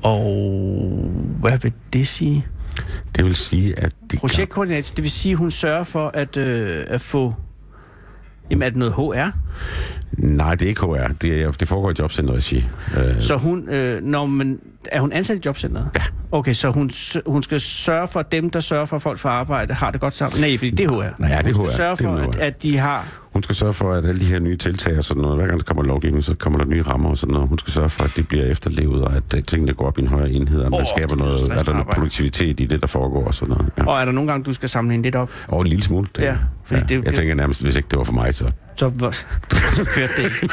Speaker 4: Og hvad vil det sige?
Speaker 7: Det vil sige, at de
Speaker 4: Projektkoordinator, det vil sige, hun sørger for at, øh, at få... Jamen, er det noget HR?
Speaker 7: Nej, det er ikke HR. Det, er, det foregår i jobcenter-regi. Øh,
Speaker 4: Så hun, øh, når man, er hun ansat i jobcenteret?
Speaker 7: Ja.
Speaker 4: Okay, så hun, s- hun skal sørge for, at dem, der sørger for, at folk får arbejde, har det godt sammen? Nej, fordi det er HR.
Speaker 7: Nej, ja, det er
Speaker 4: Hun
Speaker 7: HR.
Speaker 4: skal sørge
Speaker 7: Det er
Speaker 4: for,
Speaker 7: noget
Speaker 4: at,
Speaker 7: HR.
Speaker 4: at de har
Speaker 7: hun skal sørge for, at alle de her nye tiltag og sådan noget, hver gang der kommer lovgivning, så kommer der nye rammer og sådan noget. Hun skal sørge for, at det bliver efterlevet, og at øh, tingene går op i en højere enhed, og man
Speaker 4: Åh,
Speaker 7: skaber
Speaker 4: det lyder
Speaker 7: noget, er der noget
Speaker 4: stressende
Speaker 7: produktivitet i det, der foregår og sådan noget. Ja.
Speaker 4: Og er der nogle gange, du skal samle hende lidt op?
Speaker 7: Og en lille smule. tænker
Speaker 4: Ja,
Speaker 7: jeg.
Speaker 4: fordi det-
Speaker 7: jeg
Speaker 4: det-
Speaker 7: tænker nærmest, hvis ikke det var for mig, så...
Speaker 4: Så, hvor, så kørte det ikke.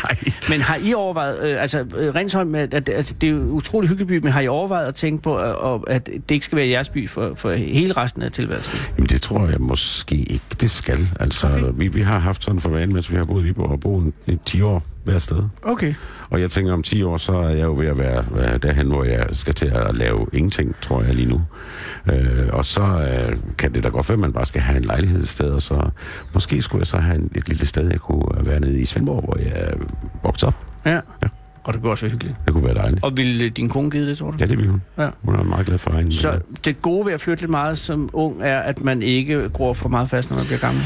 Speaker 4: Men har I overvejet, øh, altså øh, Rensholm, at, at, altså, det er jo en utrolig hyggelig by, men har I overvejet at tænke på, øh, og- at det ikke skal være jeres by for, for hele resten af tilværelsen?
Speaker 7: Jamen, det tror jeg måske ikke, det skal. Altså, okay. vi, vi har haft sådan en forvane, mens vi har boet i Viborg og boet en- i 10 år hver sted.
Speaker 4: Okay.
Speaker 7: Og jeg tænker, om 10 år, så er jeg jo ved at være være derhen, hvor jeg skal til at lave ingenting, tror jeg lige nu. Øh, og så øh, kan det da godt være, at man bare skal have en lejlighed et sted, og så måske skulle jeg så have en, et lille sted, jeg kunne være nede i Svendborg, hvor jeg øh, voksede op.
Speaker 4: Ja. Og det går også være hyggeligt.
Speaker 7: Det kunne være dejligt.
Speaker 4: Og ville din kone give det, tror du?
Speaker 7: Ja, det ville hun.
Speaker 4: Ja.
Speaker 7: Hun er meget glad for egen.
Speaker 4: Så det gode ved at flytte lidt meget som ung er, at man ikke gror for meget fast, når man bliver gammel.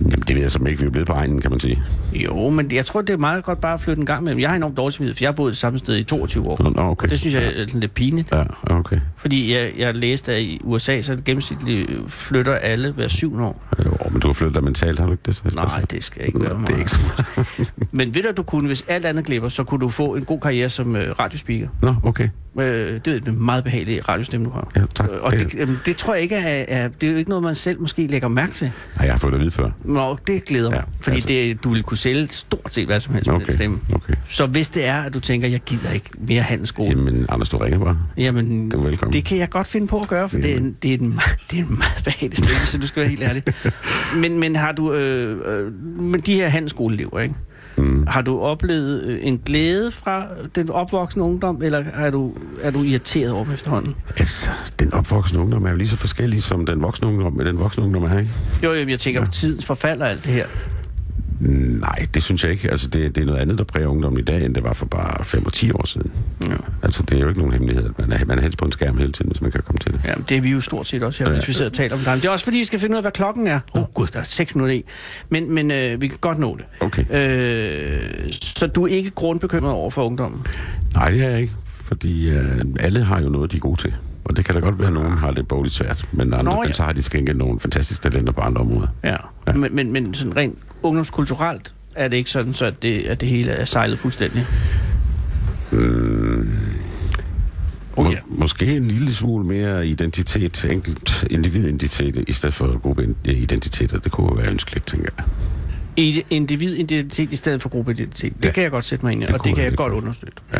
Speaker 7: Jamen, det ved jeg som ikke, vi er jo blevet på egnen, kan man sige.
Speaker 4: Jo, men jeg tror, det er meget godt bare at flytte en gang imellem. Jeg har enormt dårlig samvittighed, for jeg har boet det samme sted i 22 år.
Speaker 7: Nå, nå, okay.
Speaker 4: Det synes jeg er sådan lidt pinligt.
Speaker 7: Ja, okay.
Speaker 4: Fordi jeg, jeg læste, at i USA, så gennemsnitligt flytter alle hver syvende år.
Speaker 7: Jo, men du har flyttet dig mentalt, har du ikke det? Så i stedet
Speaker 4: Nej,
Speaker 7: for?
Speaker 4: det skal ikke være
Speaker 7: Nå,
Speaker 4: meget.
Speaker 7: det er ikke så
Speaker 4: Men ved du, du kunne, hvis alt andet glipper, så kunne du få en god karriere som øh, radiospeaker.
Speaker 7: Nå, okay.
Speaker 4: Øh, det er en meget behagelig radiostemme, du har.
Speaker 7: Ja, tak.
Speaker 4: Øh, Og det, jamen, det tror jeg ikke er, er... Det er jo ikke noget, man selv måske lægger mærke til.
Speaker 7: Nej, jeg har fået det at vide før.
Speaker 4: Nå, det glæder mig.
Speaker 7: Ja,
Speaker 4: fordi
Speaker 7: altså.
Speaker 4: det, du vil kunne sælge stort set hvad som helst med
Speaker 7: Okay,
Speaker 4: den stemme.
Speaker 7: okay.
Speaker 4: Så hvis det er, at du tænker, jeg gider ikke mere handelsskole, jamen,
Speaker 7: Jamen, Anders, du ringer bare.
Speaker 4: jamen
Speaker 7: Du er velkommen.
Speaker 4: Oh. det kan jeg godt finde på at gøre, for det er, en, det, er en, me- det er en meget behagelig stemme, så du skal være helt ærlig. Men, men har du... Øh, øh, men de her handelsskoleelever, ikke? Mm. Har du oplevet øh, en glæde fra den opvoksende ungdom, eller er du, er du irriteret over dem efterhånden?
Speaker 7: Altså, den opvoksende ungdom er jo lige så forskellig, som den voksne ungdom, den voksne ungdom er, ikke?
Speaker 4: Jo, jo, jeg tænker på tidens forfald og alt det her.
Speaker 7: Mm, Nej, det synes jeg ikke. Altså, det, det er noget andet, der præger ungdommen i dag, end det var for bare 5 og 10 år siden. Ja. Altså, det er jo ikke nogen hemmelighed, at man er, man er helst på en skærm hele tiden, hvis man kan komme til det.
Speaker 4: Jamen, det er vi jo stort set også her, hvis vi sidder og taler om det. Men Det er også fordi, vi skal finde ud af, hvad klokken er. Åh oh, gud, der er 6 minutter i. Men, men øh, vi kan godt nå det.
Speaker 7: Okay.
Speaker 4: Øh, så du er ikke grundbekymret over for ungdommen?
Speaker 7: Nej, det er jeg ikke, fordi øh, alle har jo noget, de er gode til. Og det kan da godt være, at nogen har det bogligt svært, men, andre,
Speaker 4: Nå,
Speaker 7: Nå, ja.
Speaker 4: ja.
Speaker 7: men så har de skænket nogle fantastiske talenter på andre områder.
Speaker 4: Ja. ja. Men, men, men sådan rent ungdomskulturelt er det ikke sådan, så at det, at det hele er sejlet fuldstændig?
Speaker 7: Må,
Speaker 4: Oh,
Speaker 7: ja.
Speaker 4: ja.
Speaker 7: Øh, Måske en lille smule mere identitet, enkelt individidentitet, i stedet for gruppeidentiteter. Det kunne jo være ønskeligt, tænker jeg.
Speaker 4: I- Individidentitet i stedet for gruppeidentitet. Det
Speaker 7: Ja.
Speaker 4: ja. kan jeg godt sætte mig ind i,
Speaker 7: Det
Speaker 4: og
Speaker 7: kunne
Speaker 4: det kan
Speaker 7: jeg
Speaker 4: jeg
Speaker 7: godt.
Speaker 4: godt understøtte.
Speaker 7: Ja.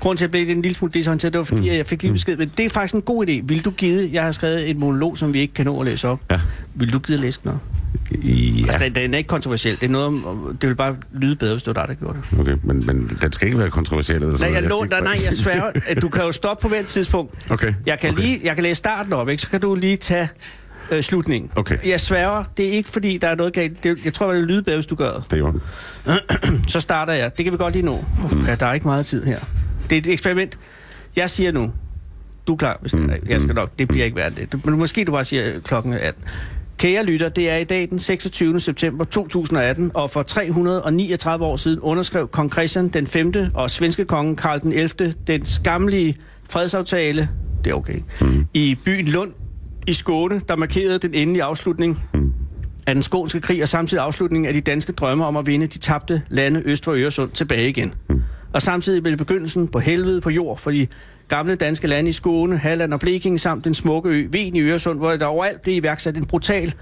Speaker 4: Grunden til, at jeg blev lidt en lille smule desorienteret, det var, fordi mm. jeg fik lige besked, men det er faktisk en god idé. Vil du give, jeg har skrevet en monolog, som vi ikke kan nå at læse op.
Speaker 7: Ja.
Speaker 4: Vil du give at læse den op?
Speaker 7: Ja,
Speaker 4: Altså, den, den er ikke kontroversiel. Det, er noget om, om- det vil bare lyde bedre, hvis det var dig, der gjorde det.
Speaker 7: okay, men, men den skal ikke være kontroversiel. Eller
Speaker 4: Nej,
Speaker 7: noget.
Speaker 4: jeg,
Speaker 7: skal
Speaker 4: lå,
Speaker 7: ikke
Speaker 4: nej, nej, jeg sværger. at Du kan jo stoppe på hvert tidspunkt.
Speaker 7: Okay,
Speaker 4: Jeg kan,
Speaker 7: okay.
Speaker 4: lige, jeg kan læse starten op, ikke? så kan du lige tage øh, slutningen.
Speaker 7: Okay.
Speaker 4: Jeg sværger, det er ikke fordi, der er noget galt. Det, jeg tror, det vil lyde bedre, hvis du gør det.
Speaker 7: Det er jo...
Speaker 4: Så starter jeg. Det kan vi godt lige nå. Mm. Ja, der er ikke meget tid her. Det er et eksperiment. Jeg siger nu. Du er klar, hvis mm. jeg skal nok. Det bliver ikke værd det. Men måske du bare siger øh, klokken er 18. Kære lytter, det er i dag den 26. september 2018, og for 339 år siden underskrev kong Christian den 5. og svenske konge Karl den 11. den skamlige fredsaftale, det er okay, mm. i byen Lund i Skåne, der markerede den endelige afslutning af den skånske krig og samtidig afslutningen af de danske drømme om at vinde de tabte lande øst for Øresund tilbage igen. Og samtidig blev det begyndelsen på helvede på jord for de gamle danske lande i Skåne, Halland og Blekinge samt den smukke ø Ven i Øresund, hvor der overalt blev iværksat en brutal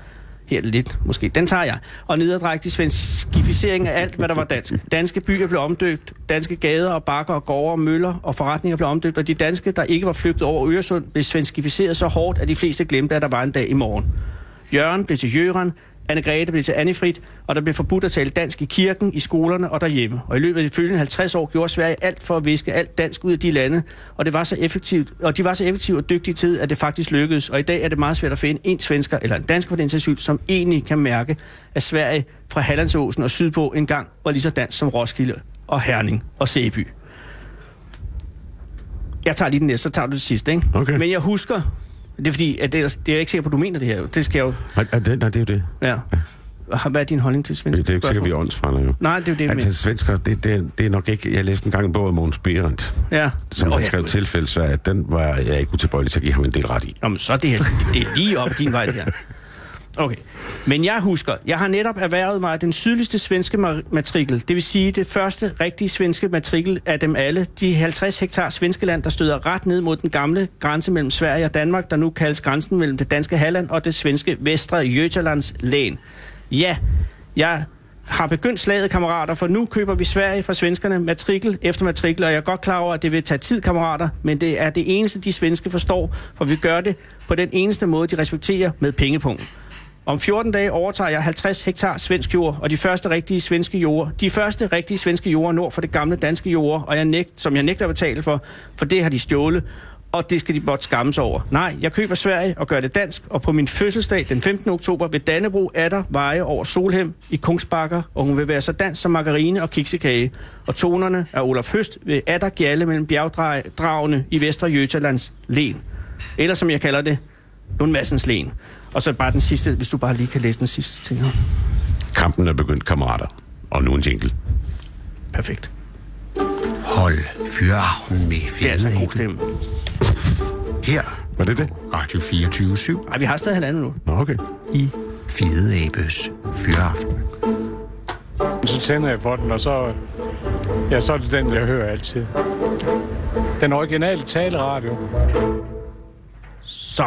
Speaker 4: her er det lidt, måske. Den tager jeg. Og nederdrægtig svenskificering af alt, hvad der var dansk. Danske byer blev omdøbt, danske gader og bakker og gårde og møller og forretninger blev omdøbt, og de danske, der ikke var flygtet over Øresund, blev svenskificeret så hårdt, at de fleste glemte, at der var en dag i morgen. Jørgen blev til Jøren, Anne-Grethe blev til Annefrit, og der blev forbudt at tale dansk i kirken, i skolerne og derhjemme. Og i løbet af de følgende 50 år gjorde Sverige alt for at viske alt dansk ud af de lande, og, det var så effektivt, og de var så effektive og dygtige til, at det faktisk lykkedes. Og i dag er det meget svært at finde en svensker, eller en dansker for den sags skyld, som egentlig kan mærke, at Sverige fra Hallandsåsen og sydpå engang var lige så dansk som Roskilde og Herning og Sæby. Jeg tager lige den næste, så tager du det sidste, ikke?
Speaker 7: Okay.
Speaker 4: Men jeg husker, det er fordi, at det, er, det er jeg ikke sikker på, at du mener det her. jo. Det skal jeg jo
Speaker 7: Nej, nej, det, nej, det er jo det.
Speaker 4: Ja. Hvad er din holdning til svenske
Speaker 7: Det er jo ikke sikkert, vi er åndsfrænder jo.
Speaker 4: Nej, det er jo det, jeg
Speaker 7: Altså, svensker, det, det, det er nok ikke... Jeg læste engang en bog af Mogens Berendt,
Speaker 4: mener. Ja.
Speaker 7: som
Speaker 4: Nå,
Speaker 7: oh, han
Speaker 4: ja,
Speaker 7: skrev
Speaker 4: gud.
Speaker 7: tilfælde, så at den var jeg ikke utilbøjelig til at give ham en del ret i.
Speaker 4: Nå, men så er det, her, det er lige op ad din vej, det her. Okay. Men jeg husker, jeg har netop erhvervet mig den sydligste svenske mar- matrikel, det vil sige det første rigtige svenske matrikel af dem alle, de 50 hektar svenske land, der støder ret ned mod den gamle grænse mellem Sverige og Danmark, der nu kaldes grænsen mellem det danske Halland og det svenske Vestre Götalands län. Ja, jeg har begyndt slaget, kammerater, for nu køber vi Sverige fra svenskerne matrikel efter matrikel, og jeg er godt klar over, at det vil tage tid, kammerater, men det er det eneste, de svenske forstår, for vi gør det på den eneste måde, de respekterer med pengepunkten. Om 14 dage overtager jeg 50 hektar svensk jord, og de første rigtige svenske jorder, de første rigtige svenske jorder nord for det gamle danske jord, og jeg nægt, som jeg nægter at betale for, for det har de stjålet, og det skal de blot skammes over. Nej, jeg køber Sverige og gør det dansk, og på min fødselsdag den 15. oktober vil Dannebro atter veje over Solhem i Kungsbakker, og hun vil være så dansk som margarine og kiksekage. Og tonerne af Olaf Høst vil atter gjalle mellem bjergdragene i Vestre Jøtalands len. Eller som jeg kalder det, Lund Madsens len. Og så bare den sidste, hvis du bare lige kan læse den sidste ting. her.
Speaker 7: Kampen er begyndt, kammerater. Og nu en jingle.
Speaker 4: Perfekt.
Speaker 3: Hold Fyraften med
Speaker 4: Det er altså en god
Speaker 3: Fede
Speaker 4: stemme.
Speaker 3: Her
Speaker 7: Var det det?
Speaker 3: Radio 24
Speaker 4: Ej, vi har stadig halvandet nu.
Speaker 7: Nå, okay.
Speaker 3: i Fede Abes Fyraften.
Speaker 8: Så tænder jeg for den, og så, ja, så er det den, jeg hører altid. Den originale taleradio.
Speaker 4: Så.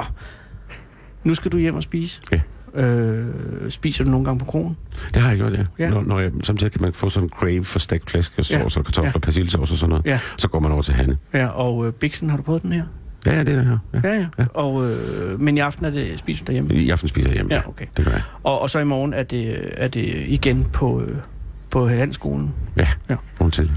Speaker 4: Nu skal du hjem og spise.
Speaker 7: Ja.
Speaker 4: Øh, spiser du nogle gange på krogen?
Speaker 7: Det har jeg gjort, ja.
Speaker 4: Ja.
Speaker 7: ja. Når, når jeg, samtidig kan man få sådan en crave for stegt flæskesauce
Speaker 4: Ja.
Speaker 7: ja. og kartofler,
Speaker 4: Ja.
Speaker 7: ja. persillesauce og sådan noget.
Speaker 4: Ja.
Speaker 7: Så går man over til Hanne.
Speaker 4: Ja, og øh, Bixen, har du prøvet den her?
Speaker 7: Ja, ja, det er det her. Ja.
Speaker 4: Ja, ja. ja. Og, øh, men i aften er det, spiser du derhjemme.
Speaker 7: I aften spiser jeg hjemme.
Speaker 4: Ja, okay.
Speaker 7: Det gør jeg.
Speaker 4: Og, og så i morgen er det, er det igen på, øh, på handelsskolen.
Speaker 7: Ja,
Speaker 4: Ja.
Speaker 7: ja. morgen til.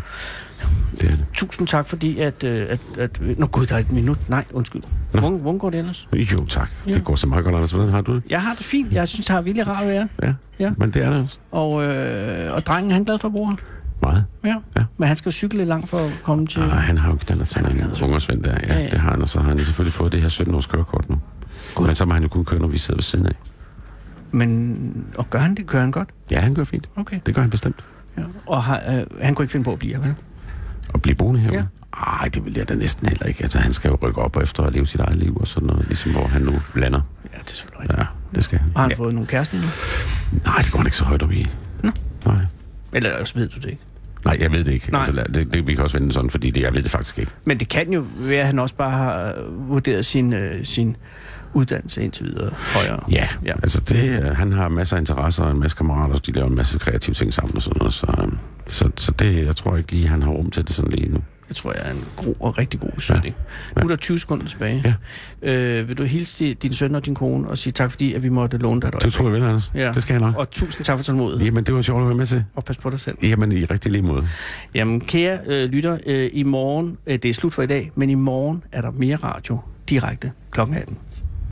Speaker 7: Det er det.
Speaker 4: Tusind tak, fordi at... øh, at, at øh, nå gud, der er et minut. Nej, undskyld.
Speaker 7: Nå.
Speaker 4: Hvordan, hvordan går det ellers?
Speaker 7: Jo, tak.
Speaker 4: Ja.
Speaker 7: Ja. Det går så meget godt, Anders. Hvordan har du det?
Speaker 4: Jeg har det fint. Jeg synes, det har virkelig rart at være.
Speaker 7: Ja.
Speaker 4: Ja.
Speaker 7: Men det er det også.
Speaker 4: Og, øh, og drengen, han er glad for at bruge ham.
Speaker 7: Meget.
Speaker 4: Ja. ja.
Speaker 7: Ja.
Speaker 4: Men han skal jo cykle lidt langt for at komme til...
Speaker 7: Ah, han har jo knaldet sådan
Speaker 4: Han har
Speaker 7: en
Speaker 4: knaldet.
Speaker 7: ungersvend der. Ja,
Speaker 4: Ja, ja.
Speaker 7: det har han, og så har han selvfølgelig fået det her 17-års kørekort nu.
Speaker 4: God.
Speaker 7: God. Men så må han jo kun køre, når vi sidder ved siden af.
Speaker 4: Men, og gør han det? Kører han godt?
Speaker 7: Ja, han gør fint.
Speaker 4: Okay.
Speaker 7: Det gør han bestemt.
Speaker 4: Ja. Og har, øh, han kunne ikke finde på at blive her, vel?
Speaker 7: Og blive boende herude?
Speaker 4: Ja.
Speaker 7: Ja. Ej, det vil jeg da næsten heller ikke. Altså, han skal jo rykke op efter at leve sit eget liv og sådan noget, ligesom hvor han nu lander.
Speaker 4: Ja, det er selvfølgelig rigtigt.
Speaker 7: Ja, det skal han.
Speaker 4: Har han
Speaker 7: Ja.
Speaker 4: fået nogle kærester nu?
Speaker 7: Nej, det går han ikke så højt op i. Nå. Nej.
Speaker 4: Eller også ved du det ikke.
Speaker 7: Nej, jeg ved det ikke.
Speaker 4: Nej.
Speaker 7: Altså, lad- det, det, vi kan også vende den sådan, fordi det, jeg ved det faktisk ikke.
Speaker 4: Men det kan jo være, at han også bare har øh, vurderet sin, øh, sin uddannelse indtil videre højere.
Speaker 7: Ja,
Speaker 4: Ja.
Speaker 7: ja. altså det, øh, han har masser af interesser og en masse kammerater, og de øhm, laver en masse kreative ting sammen og sådan noget, så, øh, så, så det, jeg tror ikke lige, han har rum til det sådan lige nu.
Speaker 4: Det tror jeg er en god og rigtig god beslutning. Ja. Nu er der 20 sekunder tilbage.
Speaker 7: Ja.
Speaker 4: Øh, vil du hilse til din søn og din kone og sige tak, fordi at vi måtte låne dig et
Speaker 7: Det
Speaker 4: øjeblik?
Speaker 7: tror jeg vel, Anders. Ja. Det skal jeg nok.
Speaker 4: Og tusind tak for tålmodigheden.
Speaker 7: Jamen, det var sjovt at være med til.
Speaker 4: Og pas på dig selv.
Speaker 7: Jamen, i rigtig lige måde.
Speaker 4: Jamen, kære øh, lytter, øh, i morgen, øh, det er slut for i dag, men i morgen er der mere radio direkte kl. 18.